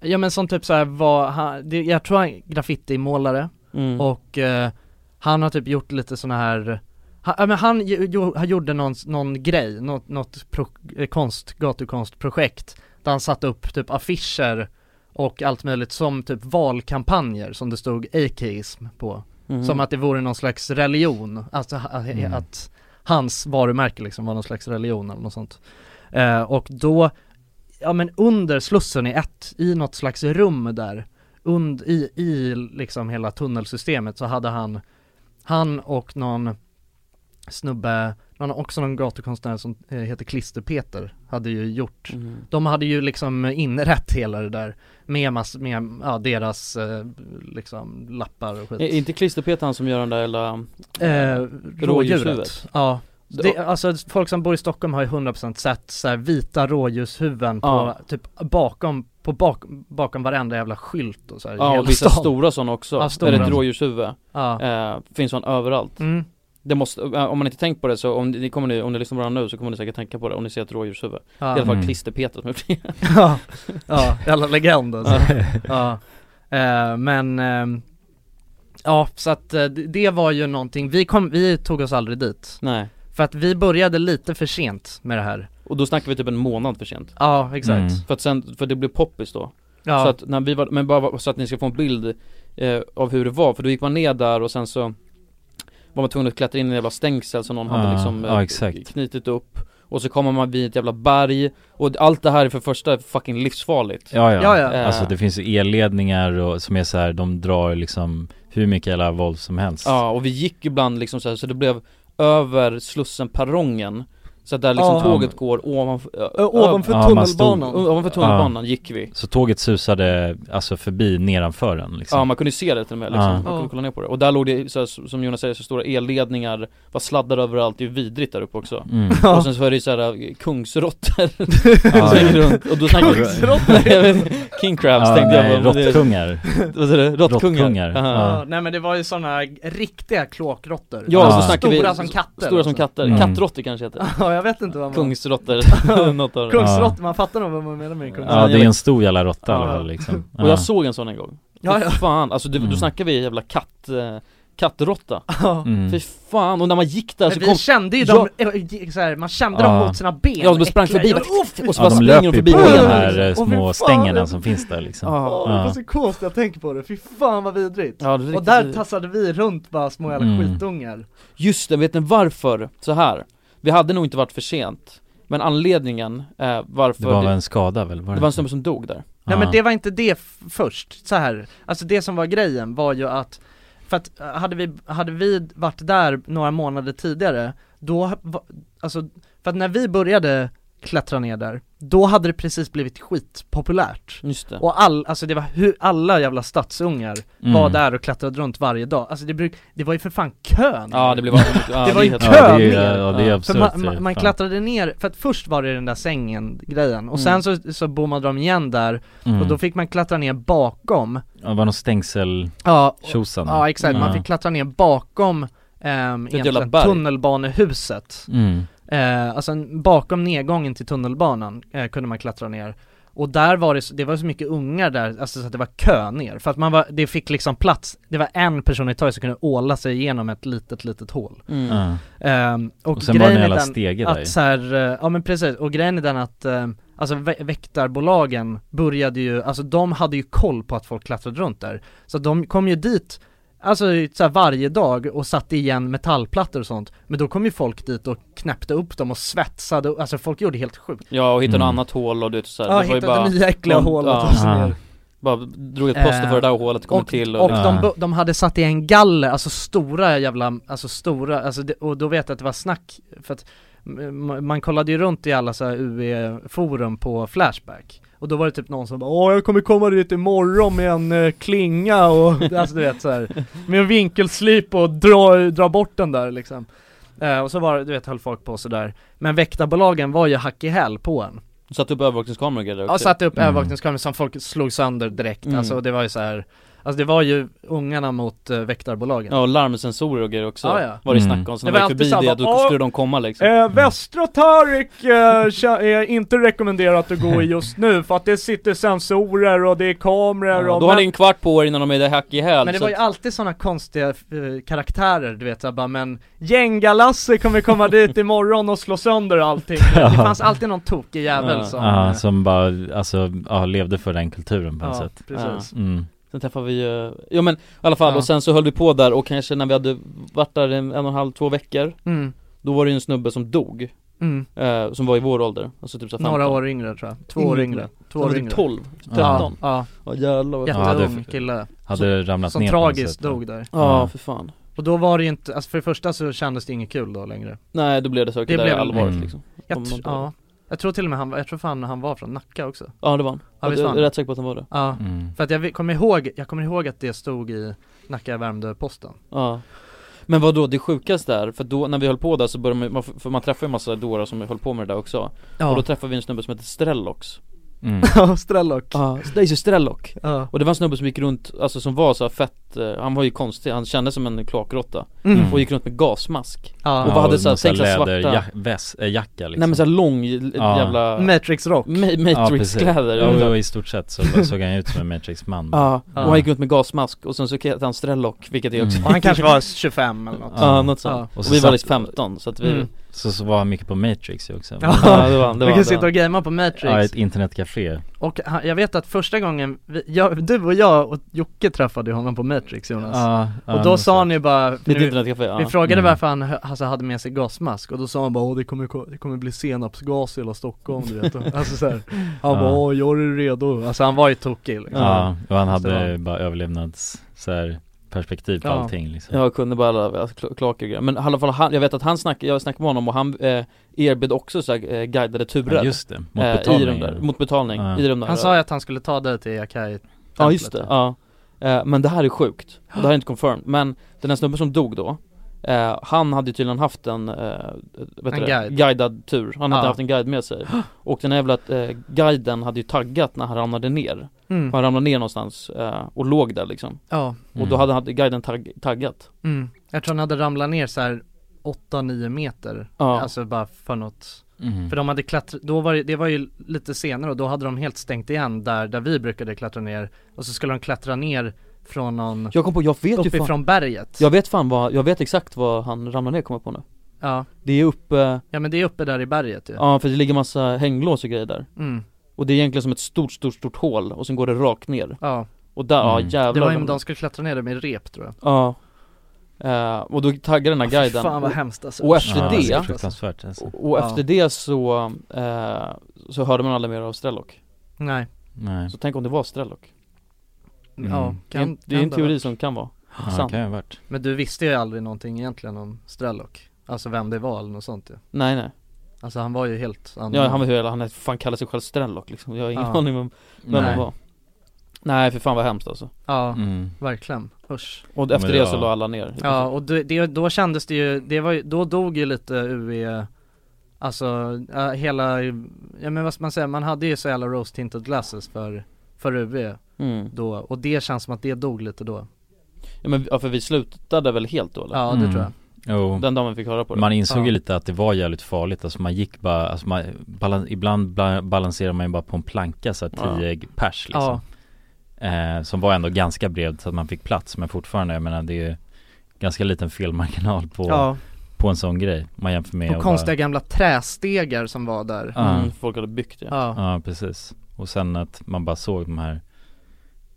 S3: ja men som typ så här var, han, det, jag tror han är graffitimålare
S6: Mm.
S3: och eh, han har typ gjort lite såna här han, ja, men han, ju- jo, han gjorde någon, någon grej, något, något pro, eh, konst, gatukonstprojekt Där han satte upp typ affischer och allt möjligt som typ valkampanjer som det stod ateism på
S6: Mhm.
S3: Som att det vore någon slags religion, alltså ha- att,
S6: Mm.
S3: att hans varumärke liksom var någon slags religion eller något sånt eh, Och då, ja men under Slussen i ett, i något slags rum där und, i, I liksom hela tunnelsystemet så hade han Han och någon snubbe, någon, också någon gatukonstnär som eh, heter Klister-Peter hade ju gjort De hade ju liksom inrett hela det där med, mass, med ja, deras eh, liksom lappar och skit
S6: Är inte Klisterpeter han som gör den där hela
S3: Eh, rådjuret.
S6: rådjurshuvudet?
S3: Ja.
S6: Det-
S3: Det, alltså folk som bor i Stockholm har ju 100% sett så här vita rådjurshuvuden
S6: Ja.
S3: på, typ bakom, på bak, bakom varenda jävla skylt och så här, i
S6: Ja
S3: hela
S6: och vissa
S3: stan.
S6: stora sådana också,
S3: Ja, stora.
S6: eller ett rådjurshuvud
S3: Ja.
S6: eh, Finns sån överallt
S3: Mm.
S6: Det måste, eh, om man inte tänkt på det så, om ni, ni kommer ni, om ni lyssnar på det här nu så kommer ni säkert tänka på det om ni ser ett rådjurshuvud Det är i alla fall
S3: Mm.
S6: Klisterpeter som har gjort det
S3: Ja, ja, jävla legend alltså. ja. Eh, men, ehm, ja så att eh, det det var ju någonting, vi, kom, vi tog oss aldrig dit
S6: Nej
S3: För att vi började lite för sent med det här
S6: Och då snackar vi typ en månad för sent
S12: Ja, exakt. Mm.
S6: För att sen, för det blev poppis då
S12: Ja.
S6: Så att när vi var, men bara så att ni ska få en bild eh, av hur det var, för då gick man ner där och sen så var man tvungen att klättra in i en jävla stängsel som någon
S2: Ja,
S6: hade liksom
S2: ja, exakt.
S6: knutit upp Och så kommer man vid ett jävla berg, och allt det här är för första fucking livsfarligt
S2: Ja ja,
S6: Eh,
S2: alltså det finns ju elledningar och, som är så här, de drar liksom hur mycket jävla våld som helst
S6: Ja, och vi gick ibland liksom så här, så det blev över Slussen perrongen Så att där liksom
S12: Ja.
S6: tåget går ovanför, ö-
S12: ovanför
S6: ö-
S2: Ja, man stod-
S6: tunnelbanan. O- ovanför tunnelbanan
S2: Ja.
S6: gick vi
S2: Så tåget susade alltså förbi nedanför den liksom
S6: Ja man kunde se det till och med liksom,
S2: Ja.
S6: man kunde
S2: Ja.
S6: kolla ner på det. Och där låg det, så här, som Jonas säger, så stora elledningar, var sladdar överallt, det är ju vidrigt där uppe också
S2: Mm.
S6: Och sen så är det ju såhär kungsråttor som springer runt, och då snackar vi
S12: Kungsråttor?
S6: Jag vet- King crabs
S2: Ja,
S6: tänkte
S2: nej,
S6: jag på, men det-
S2: råttkungar.
S6: Vad sa du? Råttkungar?
S2: Råttkungar,
S6: Aha.
S2: ja.
S3: Nej men det var ju sådana riktiga klåkråttor.
S6: Ja, så snackar vi-
S3: Stora som katter.
S6: Stora som katter,
S2: Mm.
S6: kattråttor kanske heter
S3: Ja, jag vet inte vad man-
S6: Kungsråttor, något av det
S3: Kungsråttor, man fattar nog vad man menar med en kungsråtta.
S2: Ja, det är en stor jävla råtta i alla fall, liksom.
S6: Och
S2: Ja.
S6: jag såg en sån en gång
S3: Ja,
S6: Fy
S3: ja.
S6: fan, alltså du, då snackar vi jävla katt, eh, kattråtta
S2: Mm.
S6: Fy fan, och när man gick där
S3: Men
S6: så
S3: vi
S6: kom
S3: kände ju dem, eh, så här, man kände dem
S2: Ja.
S3: mot sina ben
S6: Ja, och de sprang
S3: Äckliga
S6: förbi,
S3: jävla-
S6: bara-
S3: Uff!
S6: och så
S2: Ja,
S6: bara
S2: de
S6: springer
S2: löper
S6: de
S2: ju
S6: förbi
S2: på
S6: benen.
S2: de här eh,
S3: Åh, fy
S2: små
S3: fan.
S2: stängerna som finns där liksom
S3: Åh, Det var så coolt när jag tänker på det, fy fan vad vidrigt!
S6: Ja, det är riktigt
S3: och där
S6: vidrigt.
S3: tassade vi runt bara små jävla
S6: Mm.
S3: skitungar
S6: Just det, vet ni varför? Så här. vi hade nog inte varit för sent Men anledningen eh, varför
S2: Det var väl en skada väl?
S6: det var en snubbe som dog där
S3: Nej men det var inte det f- först, så här. alltså det som var grejen var ju att För att eh, hade vi, hade vi varit där några månader tidigare, då, ha- va- alltså, för att när vi började klättra ner där, då hade det precis blivit skitpopulärt
S6: Just det.
S3: Och all, alltså det var hur, alla jävla stadsungar
S6: Mm.
S3: var där och klättrade runt varje dag, alltså det, bruk, det var ju för fan kön
S6: Ja, det blev- ja, det är
S3: Det var ju
S6: helt-
S3: kö
S6: Ja, det är-
S3: ner!
S6: ja, det är absurt,
S3: för man,
S6: det är
S3: man, man
S6: eh, fan.
S3: klättrade ner, för att först var det den där sängen grejen, och
S2: Mm.
S3: sen så, så bommade de igen där,
S2: Mm.
S3: och då fick man klättra ner bakom
S2: Ja, det var någon stängsel
S3: Ja, och-
S2: tjosan
S3: ja exakt, man
S2: Ja.
S3: fick klättra ner bakom ehm,
S6: ett jävla
S3: egentligen
S6: berg.
S3: tunnelbanehuset
S2: Mm.
S3: eh, Alltså en- bakom nedgången till tunnelbanan eh, kunde man klättra ner Och där var det, så- det var så mycket ungar där, alltså så att det var kö ner För att man var, det fick liksom plats, det var en person i taget som kunde åla sig igenom ett litet, litet hål
S6: Mm.
S2: Ja.
S3: Ehm, och,
S2: Och sen var det
S3: grejen
S2: en jävla
S3: är den
S2: stege där ju.
S3: att så här, eh, ja men precis, och grejen är den att eh, Alltså vä- väktarbolagen började ju, alltså de hade ju koll på att folk klättrade runt där Så de kom ju dit, alltså så här, varje dag och satte igen metallplattor och sånt Men då kom ju folk dit och knäppte upp dem och svetsade, och- alltså folk gjorde helt sjukt
S6: Ja, och hittade
S3: Mm.
S6: något annat hål och du vet så här,
S3: Ja,
S6: det var ju
S3: hittade
S6: bara
S3: nya äckliga
S6: de-
S3: hål och
S6: ja.
S3: tog sig ner.
S6: Bara drog ett plåster för det där hålet, kom
S3: och,
S6: till
S3: och, de, bo- de hade satt i en galler, alltså stora jävla, alltså stora, alltså det, och då vet jag att det var snack för att m- man kollade ju runt i alla så här UE-forum på Flashback och då var det typ någon som bara Åh jag kommer komma dit imorgon med en eh, klinga och alltså du vet så här Med en vinkelslip och dra, dra bort den där liksom Eh, Och så var det, du vet höll folk på sådär Men väktarbolagen var ju hack i häl på en
S6: Satt upp övervakningskameror och grejer
S3: Ja,
S6: också.
S3: satte upp
S6: Mm.
S3: övervakningskameror som folk slog sönder direkt,
S6: Mm.
S3: alltså det var ju så här. Alltså det var ju ungarna mot uh, väktarbolagen
S6: Ja och larmsensorer och grejer också
S3: Ja, ja.
S6: var det
S3: Mm.
S6: snack om, så
S3: Det
S6: när
S3: var
S6: vi gick
S3: alltid
S6: förbi
S3: så här,
S6: det då
S3: bara,
S6: skulle de komma liksom
S3: Eh, Västra Tarek är inte rekommenderat att gå i just nu för att det sitter sensorer och det är kameror
S6: Ja, Då har ni en kvart på er innan de är där hack i häl
S3: Men det
S6: så
S3: var ju alltid sådana konstiga eh, karaktärer, du vet såhär bara men Gängalasse kommer komma dit imorgon och slå sönder allting Det fanns alltid någon tokig jävel
S2: Ja,
S3: som
S2: ja, som bara, alltså, ja, levde för den kulturen på något
S6: Ja,
S2: sätt
S6: precis.
S2: mm.
S6: Sen träffade vi ju, ja men i alla fall,
S3: Ja.
S6: och sen så höll vi på där och kanske när vi hade varit där en, en och en halv, två veckor
S3: Mm.
S6: Då var det ju en snubbe som dog
S3: Mm.
S6: eh, Som var i vår ålder, alltså typ så här
S3: Några
S6: 15.
S3: år yngre tror jag, två år yngre, två
S6: Han var
S3: år
S6: typ
S3: yngre
S6: 12, 13
S3: Ja, ja.
S6: jävlar vad
S3: Jätteung kille
S2: hade
S3: som,
S2: ramlat
S3: som
S2: ner på något
S3: tragiskt
S2: sätt, va?
S3: dog där
S6: Ja, för fan
S3: Och då var det ju inte, alltså för det första så kändes det inget kul då längre
S6: Nej, då blev det saker där
S3: blev-
S6: allvarligt liksom
S3: jag,
S6: Om
S3: tr-
S6: man tar-
S3: ja. jag tror till och med han, var- jag tror fan han var från Nacka också
S6: Ja det var han,
S3: Ja,
S6: jag,
S3: visst var
S6: jag
S3: han
S6: är
S3: det?
S6: rätt säker på att han var det
S3: Ja,
S2: Mm.
S3: för att jag vi- kommer ihåg, jag kommer ihåg att det stod i Nacka Värmdö-Posten
S6: Ja Men vad då det sjukaste är, för då när vi höll på där så började man, man- för man träffade ju en massa dårar som höll på med det där också
S3: Ja.
S6: Och då träffade vi en snubbe som heter Strellox
S2: Mm.
S3: Ja, Strellock
S6: Ja, Daisy Strellock
S3: Ja.
S6: Och det var en snubbe som gick runt, alltså som var så här fett, eh, han var ju konstig, han kändes som en kloakråtta
S2: Mm.
S6: Och gick runt med gasmask
S3: Ja.
S6: Och
S2: Ja,
S6: vad hade
S2: och
S6: såhär,
S2: massa
S6: tänk såhär svarta
S2: läder- jack- väs- äh, jacka, liksom.
S6: Nej men såhär lång j-
S2: Ja.
S6: jävla
S3: Matrix-rock
S6: Ma- Matrix-kläder
S2: Ja, precis. ja, och i stort sett så bara såg han ut som en Matrix-man
S6: Ja, och han gick runt med gasmask och sen så hette han Strellock, vilket är också
S2: Mm.
S3: Och han kanske var 25 eller något.
S6: Ja, något sånt. Och,
S2: så
S6: vi var
S2: satt-
S6: liksom 15 så att vi
S3: Mm.
S2: så, så var han mycket på Matrix ju också
S3: Ja,
S6: det var han, det var
S3: Vi
S6: han,
S3: kan
S6: det var
S3: sitta och
S6: han.
S3: gamea på Matrix
S2: Ja, ett internetcafé
S3: Och han, jag vet att första gången, vi, jag, du och jag och Jocke träffade ju honom på Matrix Jonas
S6: Ja, ja,
S3: Och då
S6: något
S3: sa han ju bara,
S6: Vid
S3: nu-
S6: internetcafé, ja.
S3: vi frågade
S6: Mm.
S3: varför han hö- alltså, hade med sig gasmask och då sa han bara Åh, det kommer, ko- det kommer bli senapsgas i hela Stockholm du vet Alltså så här, han
S2: Ja.
S3: bara Åh, jag är redo, alltså han var ju tokig liksom.
S2: Ja, och han
S3: Så det var-
S2: hade bara överlevnads så här, perspektiv på allting liksom
S6: Jag kunde bara alla alltså, kl- kloaker och grejer. Men i alla fall, han, jag vet att han snackade, jag snackade med honom och han eh, erbjöd också så här, eh, guidade turer
S2: Ja, just det. Mot
S6: eh,
S2: betalning,
S6: i de där,
S2: eller?
S6: Mot betalning,
S2: Ja.
S6: i de där
S3: Han sa ju att han skulle ta dig till Yakai
S6: Ja just det, ja Eh, Men det här är sjukt, det här är inte confirmed Men den här snubben som dog då eh, Han hade ju tydligen haft en, eh, vet
S3: En
S6: du det,
S3: guide.
S6: guidad tur Han hade
S3: Ja.
S6: haft en guide med sig Och den här jävla eh, guiden hade ju taggat när han ramlade ner
S3: Mm.
S6: Han ramlade ner någonstans eh, och låg där liksom
S3: Ja.
S6: Och då hade, hade guiden tagg, taggat
S3: Mm. Jag tror han hade ramlat ner så här 8-9 meter,
S6: Ja.
S3: alltså bara för något
S6: Mm.
S3: För de hade klättrat, då var det, det var ju lite senare och då hade de helt stängt igen där, där vi brukade klättra ner Och så skulle de klättra ner från någon
S6: Jag kom på, jag vet ju fan-
S3: Uppifrån berget
S6: Jag vet fan vad, jag vet exakt vad han ramlade ner kommer jag på nu
S3: Ja
S6: Det är eh, uppe
S3: Ja men det är uppe där i berget ju
S6: Ja för det ligger massa hänglås och grejer där
S3: Mm.
S6: Och det är egentligen som ett stort, stort, stort hål och sen går det rakt ner
S3: Ja
S6: Och där, ja jävlar
S3: Mm. Det var ju, de skulle klättra ner det med rep tror jag
S6: Ja Eh, och då taggade den här
S3: Fy
S6: guiden
S3: fan, vad
S6: Och-
S3: hemskt, alltså.
S6: Och efter
S3: Ja,
S6: det,
S3: det är fruktansvärt, alltså.
S6: Och, och
S3: Ja.
S6: efter det så, eh, så hörde man aldrig mer av Strellock
S3: Mm. Nej.
S2: Nej.
S6: Så tänk om det var Strellock
S3: Ja,
S6: Mm. Det är
S3: kan,
S6: en- Det är en
S3: kan
S6: teori
S3: ha varit.
S6: som kan vara
S2: Ja,
S6: sann.
S2: kan ju ha varit.
S3: Men du visste ju aldrig någonting egentligen om Strellock Alltså vem det var eller något sånt ju
S6: Nej nej
S3: Alltså han var ju helt
S6: Ja han var hur han fan kallar sig själv Strellock liksom, jag har ingen
S3: Ja.
S6: aning om vem
S3: Nej.
S6: det var Nej för fan vad hemskt alltså
S3: Ja,
S2: Mm.
S3: verkligen, usch
S6: Och efter
S2: Men
S6: det
S2: ja.
S6: så la alla ner
S3: Ja och det, det, då kändes det ju, det var ju, då dog ju lite UE Alltså eh, hela, ja men vad ska man säga, man hade ju så jävla rose tinted glasses för, för UE
S6: Mm.
S3: då och det känns som att det dog lite då
S6: Ja men ja, för vi slutade väl helt då eller?
S3: Ja, det Mm. tror jag.
S2: Jo.
S6: Den dagen vi fick höra på det
S2: Man insåg ju
S6: Ja.
S2: lite att det var jävligt farligt, alltså man gick bara, alltså man, balan, ibland bla, balanserar man ju bara på en planka så
S6: Ja.
S2: att 10 pers liksom eh, Som var ändå ganska bred så att man fick plats men fortfarande, jag menar det är ju ganska liten felmarginal på,
S3: Ja.
S2: på en sån grej om man jämför med
S3: På
S2: att
S3: konstiga gamla trästegar som var där
S2: Ja. Mm,
S6: folk hade byggt det
S3: Ja,
S2: bara, Ja precis, och sen att man bara såg de här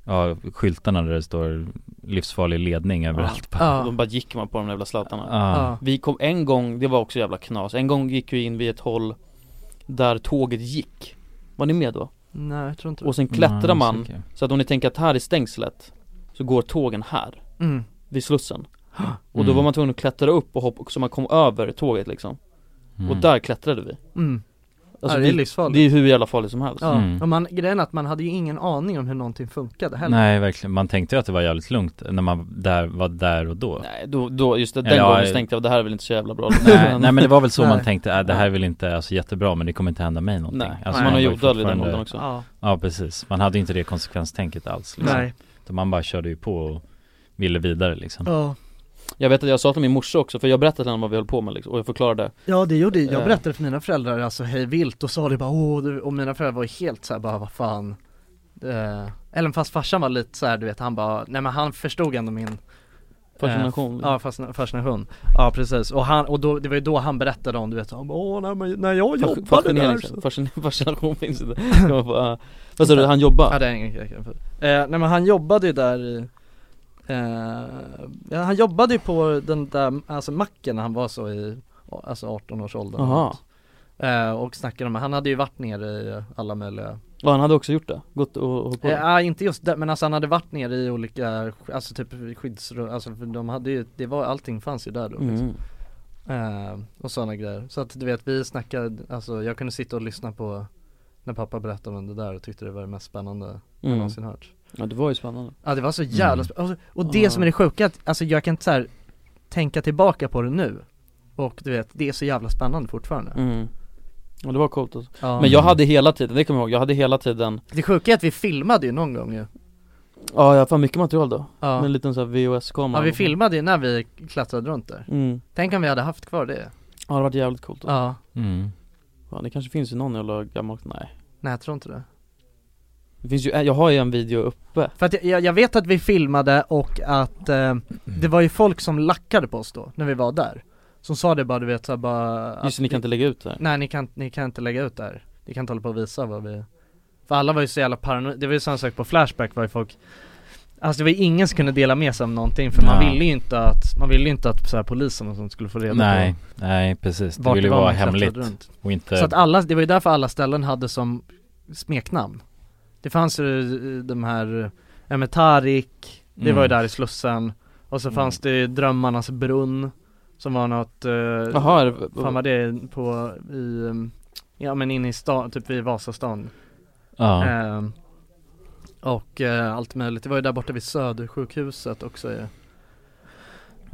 S2: Ja, skyltarna där det står livsfarlig ledning överallt
S6: Ja.
S2: bara.
S6: Och De bara gick man på de jävla slattarna
S2: Ja. Mm, Ja.
S6: Vi kom en gång, det var också jävla knas, en gång gick vi in vid ett håll Där tåget gick Var ni med då?
S3: Nej, jag tror inte det.
S6: Och sen klättrar
S3: Nej,
S6: man,
S3: säkert.
S6: så att om ni tänker att här är stängslet Så går tågen här
S3: Mm.
S6: Vid Slussen Och då
S3: Mm.
S6: var man tvungen att klättra upp och hoppa, så man kom över tåget liksom Och
S3: Mm.
S6: där klättrade vi
S3: Mm.
S6: Alltså,
S3: Ja, det är
S6: vi-
S3: livsfarligt.
S6: Det är hur jävla farligt som helst
S3: ja. Och man, grejen är att man hade ju ingen aning om hur någonting funkade heller
S2: Nej verkligen, man tänkte ju att det var jävligt lugnt när man där, var där och då
S6: Nej då, då just det, den
S2: Eller, ja,
S6: gången tänkte jag det här är väl inte så jävla bra
S2: Nej, nej men det var väl så man
S6: Nej.
S2: tänkte, äh, det här är väl inte alltså, jättebra men det kommer inte hända mig någonting
S6: Nej,
S2: alltså,
S6: man
S2: var
S6: är ju
S2: ju
S6: odödlig i den
S2: fortfarande-
S6: åldern också. Ja.
S2: Ja precis, man hade ju inte det konsekvenstänket alls liksom.
S6: Nej.
S2: Utan man bara körde ju på och ville vidare liksom
S3: Ja.
S6: Jag vet att jag sa till min morsa också, för jag berättade till henne vad vi höll på med liksom, och jag förklarade
S3: Ja det gjorde jag, jag
S6: Eh.
S3: berättade för mina föräldrar alltså hej vilt och sa det bara åh du, och mina föräldrar var ju helt såhär bara vad fan eh, Eller fast farsan var lite såhär du vet han bara, nej men han förstod ändå min eh,
S6: Fascination.
S3: ja fascina- fascination, ja precis och han, och då, det var ju då han berättade om du vet, han bara, åh när, man, när jag
S6: Fasc-
S3: jobbade där
S6: fascinering,
S3: så.
S6: fascin- Fascination finns inte Jag bara, "Ah." Vad sa du, han jobbar?
S3: Ja det är ingen jag kan- eh, Nej men han jobbade ju där i eh, ja, Han jobbade ju på den där, alltså macken när han var så i, alltså 18 års ålder
S6: Aha.
S3: eh, Och snackade om, han hade ju varit nere i alla möjliga
S6: Ja han hade också gjort det, gått och och hållit på
S3: Eh,
S6: med.
S3: Ja, inte just där, men alltså han hade varit nere i olika, alltså typ skyddsrum, alltså för de hade ju, det var, allting fanns ju där
S6: Mm.
S3: då liksom. eh, Och sådana grejer, så att du vet vi snackade, alltså jag kunde sitta och lyssna på när pappa berättade om det där och tyckte det var det mest spännande jag
S6: Mm.
S3: någonsin hört
S6: Ja det var ju spännande
S3: Ja det var så jävla
S6: Mm.
S3: sp- alltså, Och det
S6: Ja.
S3: som är det sjuka, att, alltså jag kan inte så här tänka tillbaka på det nu Och du vet, det är så jävla spännande fortfarande
S6: Mm. Ja det var coolt alltså.
S3: Ja.
S6: Men jag hade hela tiden, det kommer jag ihåg, jag hade hela tiden
S3: Det sjuka är att vi filmade ju någon gång ju
S6: Ja jag har fan mycket material då,
S3: Ja.
S6: med en liten sån här VHS-kamera
S3: Ja vi filmade ju när vi klättrade runt där
S6: Mm.
S3: Tänk om vi hade haft kvar det
S6: Ja det hade varit jävligt coolt alltså.
S3: Ja.
S6: mm. Fan, det kanske finns ju någon jävla gammal, nej
S3: Nej jag tror inte det
S6: Det finns ju, eh, jag har ju en video uppe
S3: För att jag- jag, jag vet att vi filmade och att eh, det var ju folk som lackade på oss då, när vi var där Som sa det bara du vet såhär bara
S6: Just det, ni kan inte lägga ut det här.
S3: Nej ni kan, ni kan inte lägga ut det här Ni kan inte hålla på och visa vad vi För alla var ju så jävla paranoida, det var ju samma sak på Flashback var ju folk Alltså det var ju ingen som kunde dela med sig av någonting för man
S13: Nej.
S3: ville ju inte att, man ville ju inte att så här, polisen och sånt skulle få reda
S13: Nej,
S3: på
S13: nej, precis. Det
S3: vart
S13: ville ju
S3: var
S13: vara
S3: man klättrade
S13: hemligt typ. och inte-
S3: Så att alla, det var ju därför alla ställen hade som smeknamn Det fanns ju eh, de här, ja men Tarik, det var ju
S6: Mm.
S3: där i Slussen Och
S13: Mm.
S3: så fanns det ju Drömmarnas brunn Som var något, eh,
S6: Jaha, är det-
S3: fan var det på, i, eh, ja men inne i stan, typ vid Vasastan
S2: Ja.
S3: Ehm, Och eh, allt möjligt, det var ju där borta vid Södersjukhuset också ju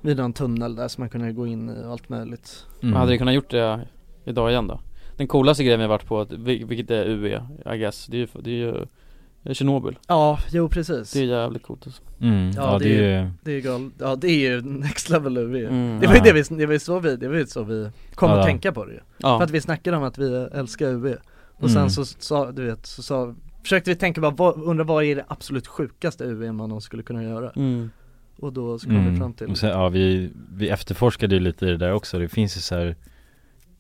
S3: Vid någon tunnel där som man kunde gå in i och allt möjligt
S2: Mm.
S6: Men Hade vi kunnat gjort det idag igen då? Den coolaste grejen vi har varit på, att- vil- vilket är UE, I guess, det är ju, det är ju det är Tjernobyl
S3: Ja, jo precis
S6: Det är jävligt coolt alltså.
S13: Mm,
S3: Ja, det, är ju, det är ju gal- ja det är ju next level nu vi är.
S6: Mm,
S3: Det var ju det
S6: ja.
S3: vi, det var ju så vi, det var ju så vi kom
S6: Ja.
S3: att tänka på det ju.
S6: Ja.
S3: För att vi snackade om att vi älskar UB Och
S6: Mm.
S3: sen så sa, du vet, så sa, försökte vi tänka bara, vad, undra vad är det absolut sjukaste UB man någon skulle kunna göra?
S6: Mm.
S3: Och då så kom vi
S2: Mm.
S3: fram till
S2: Och sen, ja, vi, vi efterforskade ju lite i det där också. Det finns ju så här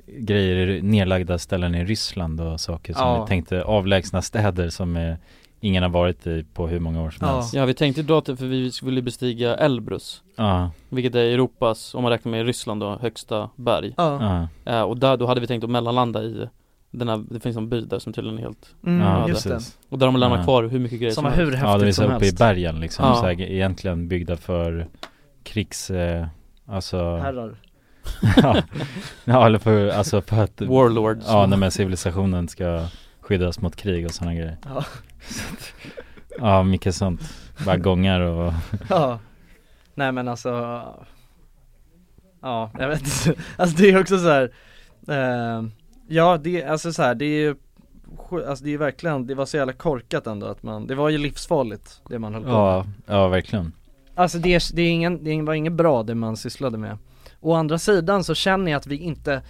S2: grejer, i- nedlagda ställen i Ryssland och saker som
S6: Ja.
S2: vi tänkte, avlägsna städer som eh, ingen har varit i på hur många år som helst.
S6: Ja vi tänkte dra till, för vi skulle bestiga Elbrus
S2: Ja.
S6: Vilket är Europas, om man räknar med Ryssland då, högsta berg
S2: Ja.
S6: Eh, Och där, då hade vi tänkt att mellanlanda i den här, det finns en by där som tydligen är helt
S3: Mm,
S6: Ja,
S3: just
S6: där.
S3: det.
S6: Och där har man lämnat
S2: Ja.
S6: kvar hur mycket grejer som, helst
S2: Ja, de är så uppe i bergen liksom, så här, egentligen byggda för krigs, eh, alltså
S3: Herrar.
S2: ja. ja, eller för, alltså för att
S6: Warlords.
S2: Ja, när men civilisationen ska skyddas mot krig och sådana grejer
S3: Ja.
S2: Så att- Ja, mycket sånt, bara gångar och
S3: Ja, nej men alltså Ja, jag vet inte. Alltså det är också så här. Eh, ja, det, alltså så här, det är ju sj- Alltså det är ju verkligen, det var så jävla korkat ändå att man, det var ju livsfarligt det man höll på med
S2: Ja, ja verkligen
S3: Alltså det, är, det, är ingen, det var inget bra det man sysslade med Å andra sidan så känner jag att vi inte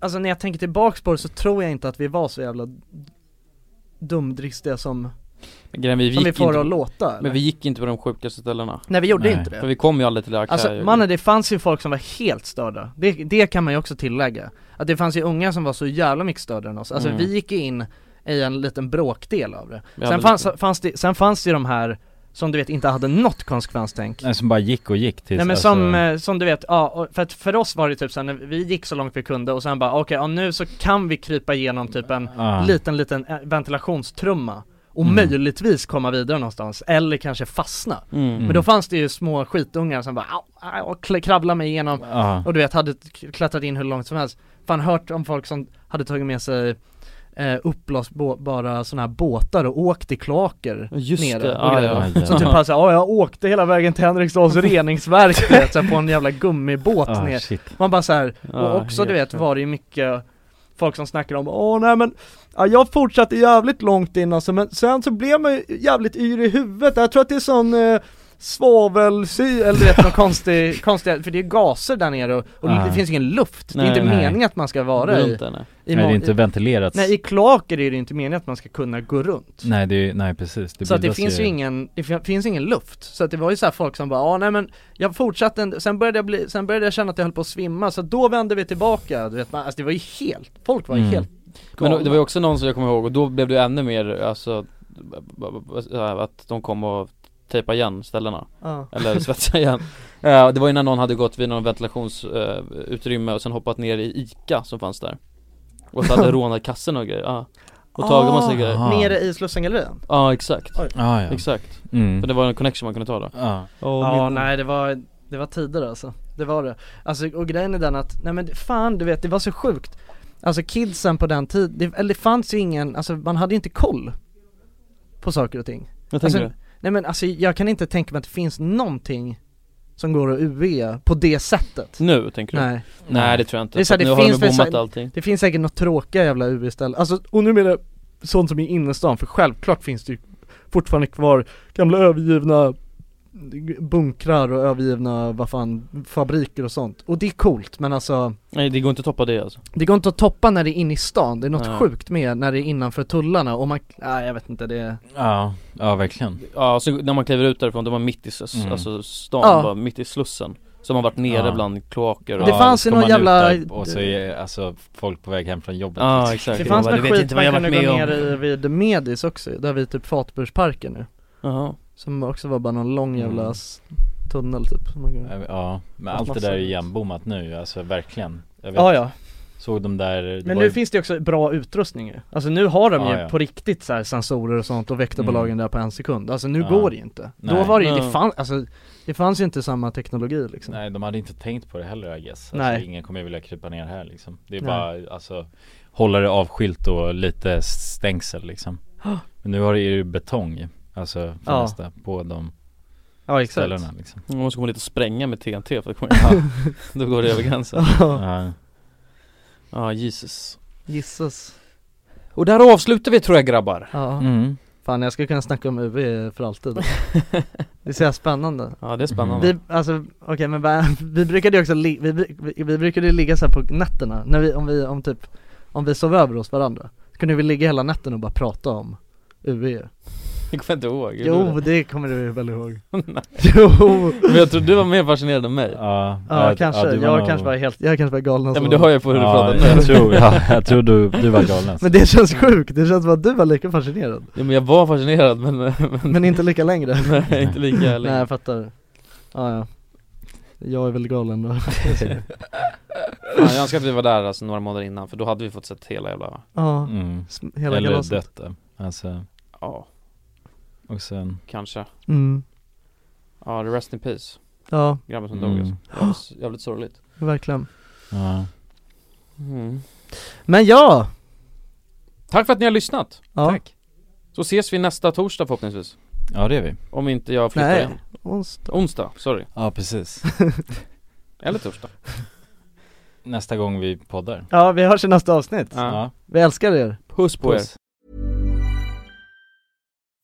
S3: Alltså när jag tänker tillbaks på det så tror jag inte att vi var så jävla dumdristiga som
S6: Men grejen, vi
S3: Som
S6: gick
S3: vi får
S6: inte-
S3: att låta, eller?
S6: Men vi gick inte på de sjukaste ställena
S3: Nej, vi gjorde Nej. inte det.
S6: För vi kom ju aldrig till det här
S3: Alltså mannen det fanns ju folk som var helt störda, det, det kan man ju också tillägga Att det fanns ju unga som var så jävla mycket större än oss, alltså
S6: Mm.
S3: vi gick in i en liten bråkdel av det
S6: Vi
S3: Sen
S6: hade
S3: fanns, fanns det, sen fanns det ju de här som du vet inte hade något konsekvenstänk
S2: Nej, som bara gick och gick tills
S3: Nej men
S2: alltså,
S3: som, eh, som du vet, ja, och för att för oss var det typ såhär, vi gick så långt vi kunde och sen bara okej, ja, nu så kan vi krypa igenom typ en
S2: Ja.
S3: liten, liten eh, ventilationstrumma och
S2: Mm.
S3: möjligtvis komma vidare någonstans, eller kanske fastna.
S6: Mm.
S3: Men då fanns det ju små skitungar som bara, au, au, och kl- kravlade mig igenom
S6: Ja.
S3: och du vet, hade k- klättrat in hur långt som helst. Fan hört om folk som hade tagit med sig eh, uppblåsbara sådana här båtar och åkt i kloaker
S6: Just
S3: nere
S6: det,
S3: och
S6: ja,
S3: grejer.
S6: ja.
S3: Så typ bara såhär, ja jag åkte hela vägen till Henriksdals reningsverk du vet, så här, på en jävla gummibåt
S6: Ah,
S3: ner
S6: shit.
S3: Man bara såhär,
S6: Ja,
S3: och också du
S6: helt
S3: vet var det ju mycket Folk som snackar om, åh nej men ja, jag fortsatte jävligt långt in alltså, men sen så blev man ju jävligt yr i huvudet, jag tror att det är sån eh, svavelsyra, eller du vet någon konstig, konstig, för det är gaser där nere och, och
S2: Ah.
S3: det finns ingen luft, det är
S2: Nej,
S3: inte
S2: nej.
S3: meningen att man ska vara
S2: Runt
S3: i,
S2: där, nej. Nej,
S3: i
S2: det är
S3: ma-
S2: inte
S3: i-
S2: ventilerat.
S3: Nej i kloaker är det ju inte meningen att man ska kunna gå runt
S2: Nej, det, är- nej precis
S3: så att det
S2: bildas
S3: finns ju ingen, det fi- finns ingen luft, så att det var ju så här folk som bara ah, nej men jag fortsatte, en, sen började jag bli, sen började jag känna att jag höll på att svimma, så då vände vi tillbaka, du vet man, alltså det var ju helt, folk var ju helt
S6: Mm. Men
S3: galna.
S6: då- det var ju också någon som jag kommer ihåg och då blev det ju ännu mer alltså b- b- b- så här, att de kom och tejpa igen ställena
S3: Ja.
S6: Eller svetsa igen Eh, Det var ju när någon hade gått vid någon ventilationsutrymme och sen hoppat ner i Ica som fanns där Och så hade rånat kassen och grejer, ja
S3: Ah.
S6: Och tagit massa grejer
S3: Nere i Slussengallerian?
S6: Ja exakt,
S3: Oj.
S2: Ah, ja.
S3: Liksom.
S6: exakt
S2: Mm.
S6: För det var en connection man kunde ta då
S2: Ja.
S3: ja nej det var, det var tider alltså, det var det. Alltså och grejen är den att, nej men fan du vet det var så sjukt Alltså kidsen på den tiden, det, eller det fanns ju ingen, alltså man hade inte koll på saker och ting
S6: Jag tänker
S3: alltså,
S6: det.
S3: Nej men alltså jag kan inte tänka mig att det finns någonting som går att UE på det sättet
S6: Nu tänker du?
S3: Nej
S6: Nej det tror jag inte,
S3: det, är så här,
S6: För
S3: det
S6: nu
S3: finns
S6: har de
S3: väl
S6: bommat
S3: så-
S6: allting
S3: Det finns säkert något tråkiga jävla UE-ställe, alltså och nu menar jag sånt som är i innerstan för självklart finns det ju fortfarande kvar gamla övergivna bunkrar och övergivna, vad fan, fabriker och sånt Och det är coolt men alltså
S6: Nej det går inte att toppa det alltså
S3: Det går inte att toppa när det är inne i stan, det är något
S6: Nej.
S3: sjukt med när det är innanför tullarna och man, nej jag vet inte det
S2: Ja, ja verkligen
S6: Ja, så när man kliver ut därifrån, då är man mitt i s-
S2: Mm.
S6: alltså stan,
S3: Ja.
S6: bara mitt i slussen Så har man varit nere
S2: Ja.
S6: bland kloaker
S3: Det fanns
S2: så
S3: ju
S2: kommer
S3: någon
S2: man ut
S3: jävla-
S2: där Och så är alltså folk på väg hem från jobbet
S6: Ja, exakt.
S3: Det fanns någon skit man kunde gå ner i vid Medis också, där vid typ Fatbursparken nu
S6: Jaha.
S3: Som också var bara någon lång jävla
S2: Mm.
S3: s- tunnel typ som man kunde-
S2: Eh, Ja, men
S3: Fast
S2: allt det
S3: massa-
S2: där är igenbommat nu, alltså
S3: Mm.
S2: verkligen Jag
S3: Ja, ja.
S2: Såg de där det
S3: Men
S2: var
S3: nu
S2: ju-
S3: finns det ju också bra utrustning ju. Alltså nu har de
S2: Ja,
S3: ju
S2: ja. Mm.
S3: på riktigt så här sensorer och sånt och väktarbolagen där på en sekund Alltså nu
S2: Ja.
S3: går det ju inte Då
S2: Nej.
S3: var det ju, det
S2: Nej.
S3: fanns, alltså det fanns ju inte samma teknologi liksom
S2: Nej de hade inte tänkt på det heller I guess alltså,
S3: Nej.
S2: Ingen kommer vilja krypa ner här liksom Det är
S3: Nej.
S2: bara alltså Hålla det avskilt och lite stängsel liksom
S3: Ja.
S2: Men nu har det ju betong ju, Alltså för
S6: Ja.
S2: det mesta på de
S3: Ja
S2: ställena liksom
S6: Man måste komma dit och spränga med TNT för att komma in Då går det över gränsen
S2: Ja.
S6: Ja, Jesus
S3: Jesus
S6: Och där avslutar vi tror jag grabbar
S3: Ja
S2: Mm.
S3: Fan jag skulle kunna snacka om UV för alltid Det är så jävla spännande
S6: Ja det är spännande
S3: Vi, alltså, okej men bara, vi brukade ju också, li, vi, bru- vi, vi brukade ju ligga så här på nätterna, när vi, om vi, om typ, om vi sov över hos varandra så Kunde vi ligga hela natten och bara prata om UE
S6: Jag kommer inte ihåg
S3: Jo det kommer du väl ihåg?
S6: Nej.
S3: Jo!
S6: Men jag tror du var mer fascinerad än mig
S2: Ja,
S3: Ja, kanske, jag kanske var helt, jag kanske var galen
S6: Ja
S3: som-
S6: men du hör ju på hur du
S2: Ja,
S6: pratar nu
S2: jag tror- ja, jag tror du- du var galen, alltså.
S3: Men det känns sjukt, det känns som att du var lika fascinerad
S6: Ja men jag var fascinerad men, men,
S3: Men inte lika längre
S6: Nej inte lika
S3: Nej
S6: länge
S3: jag fattar ja, ja. Jag är väl galen då
S6: ja, Jag önskar att vi var där alltså några månader innan för då hade vi fått sett hela jävla
S3: Ja,
S2: mm.
S3: sm- hela
S2: Eller
S3: galaset
S2: dött då. alltså
S6: Ja
S2: Och sen
S6: Kanske
S3: Mm.
S6: Ja, the rest in peace
S3: Ja.
S6: Grabben som
S2: Mm.
S6: dog alltså Jävligt- Jävligt sorgligt Mm.
S3: Verkligen
S2: Ja
S3: Men ja!
S6: Tack för att ni har lyssnat!
S3: Ja.
S6: Tack! Så ses vi nästa torsdag förhoppningsvis
S2: Ja det är vi
S6: Om inte jag flyttar
S3: Nej,
S6: igen
S3: onsdag.
S6: Onsdag, sorry
S2: Ja precis
S6: Eller torsdag
S2: Nästa gång vi poddar
S3: Ja vi hörs i nästa avsnitt
S2: Ja.
S3: Vi älskar er
S6: Puss på er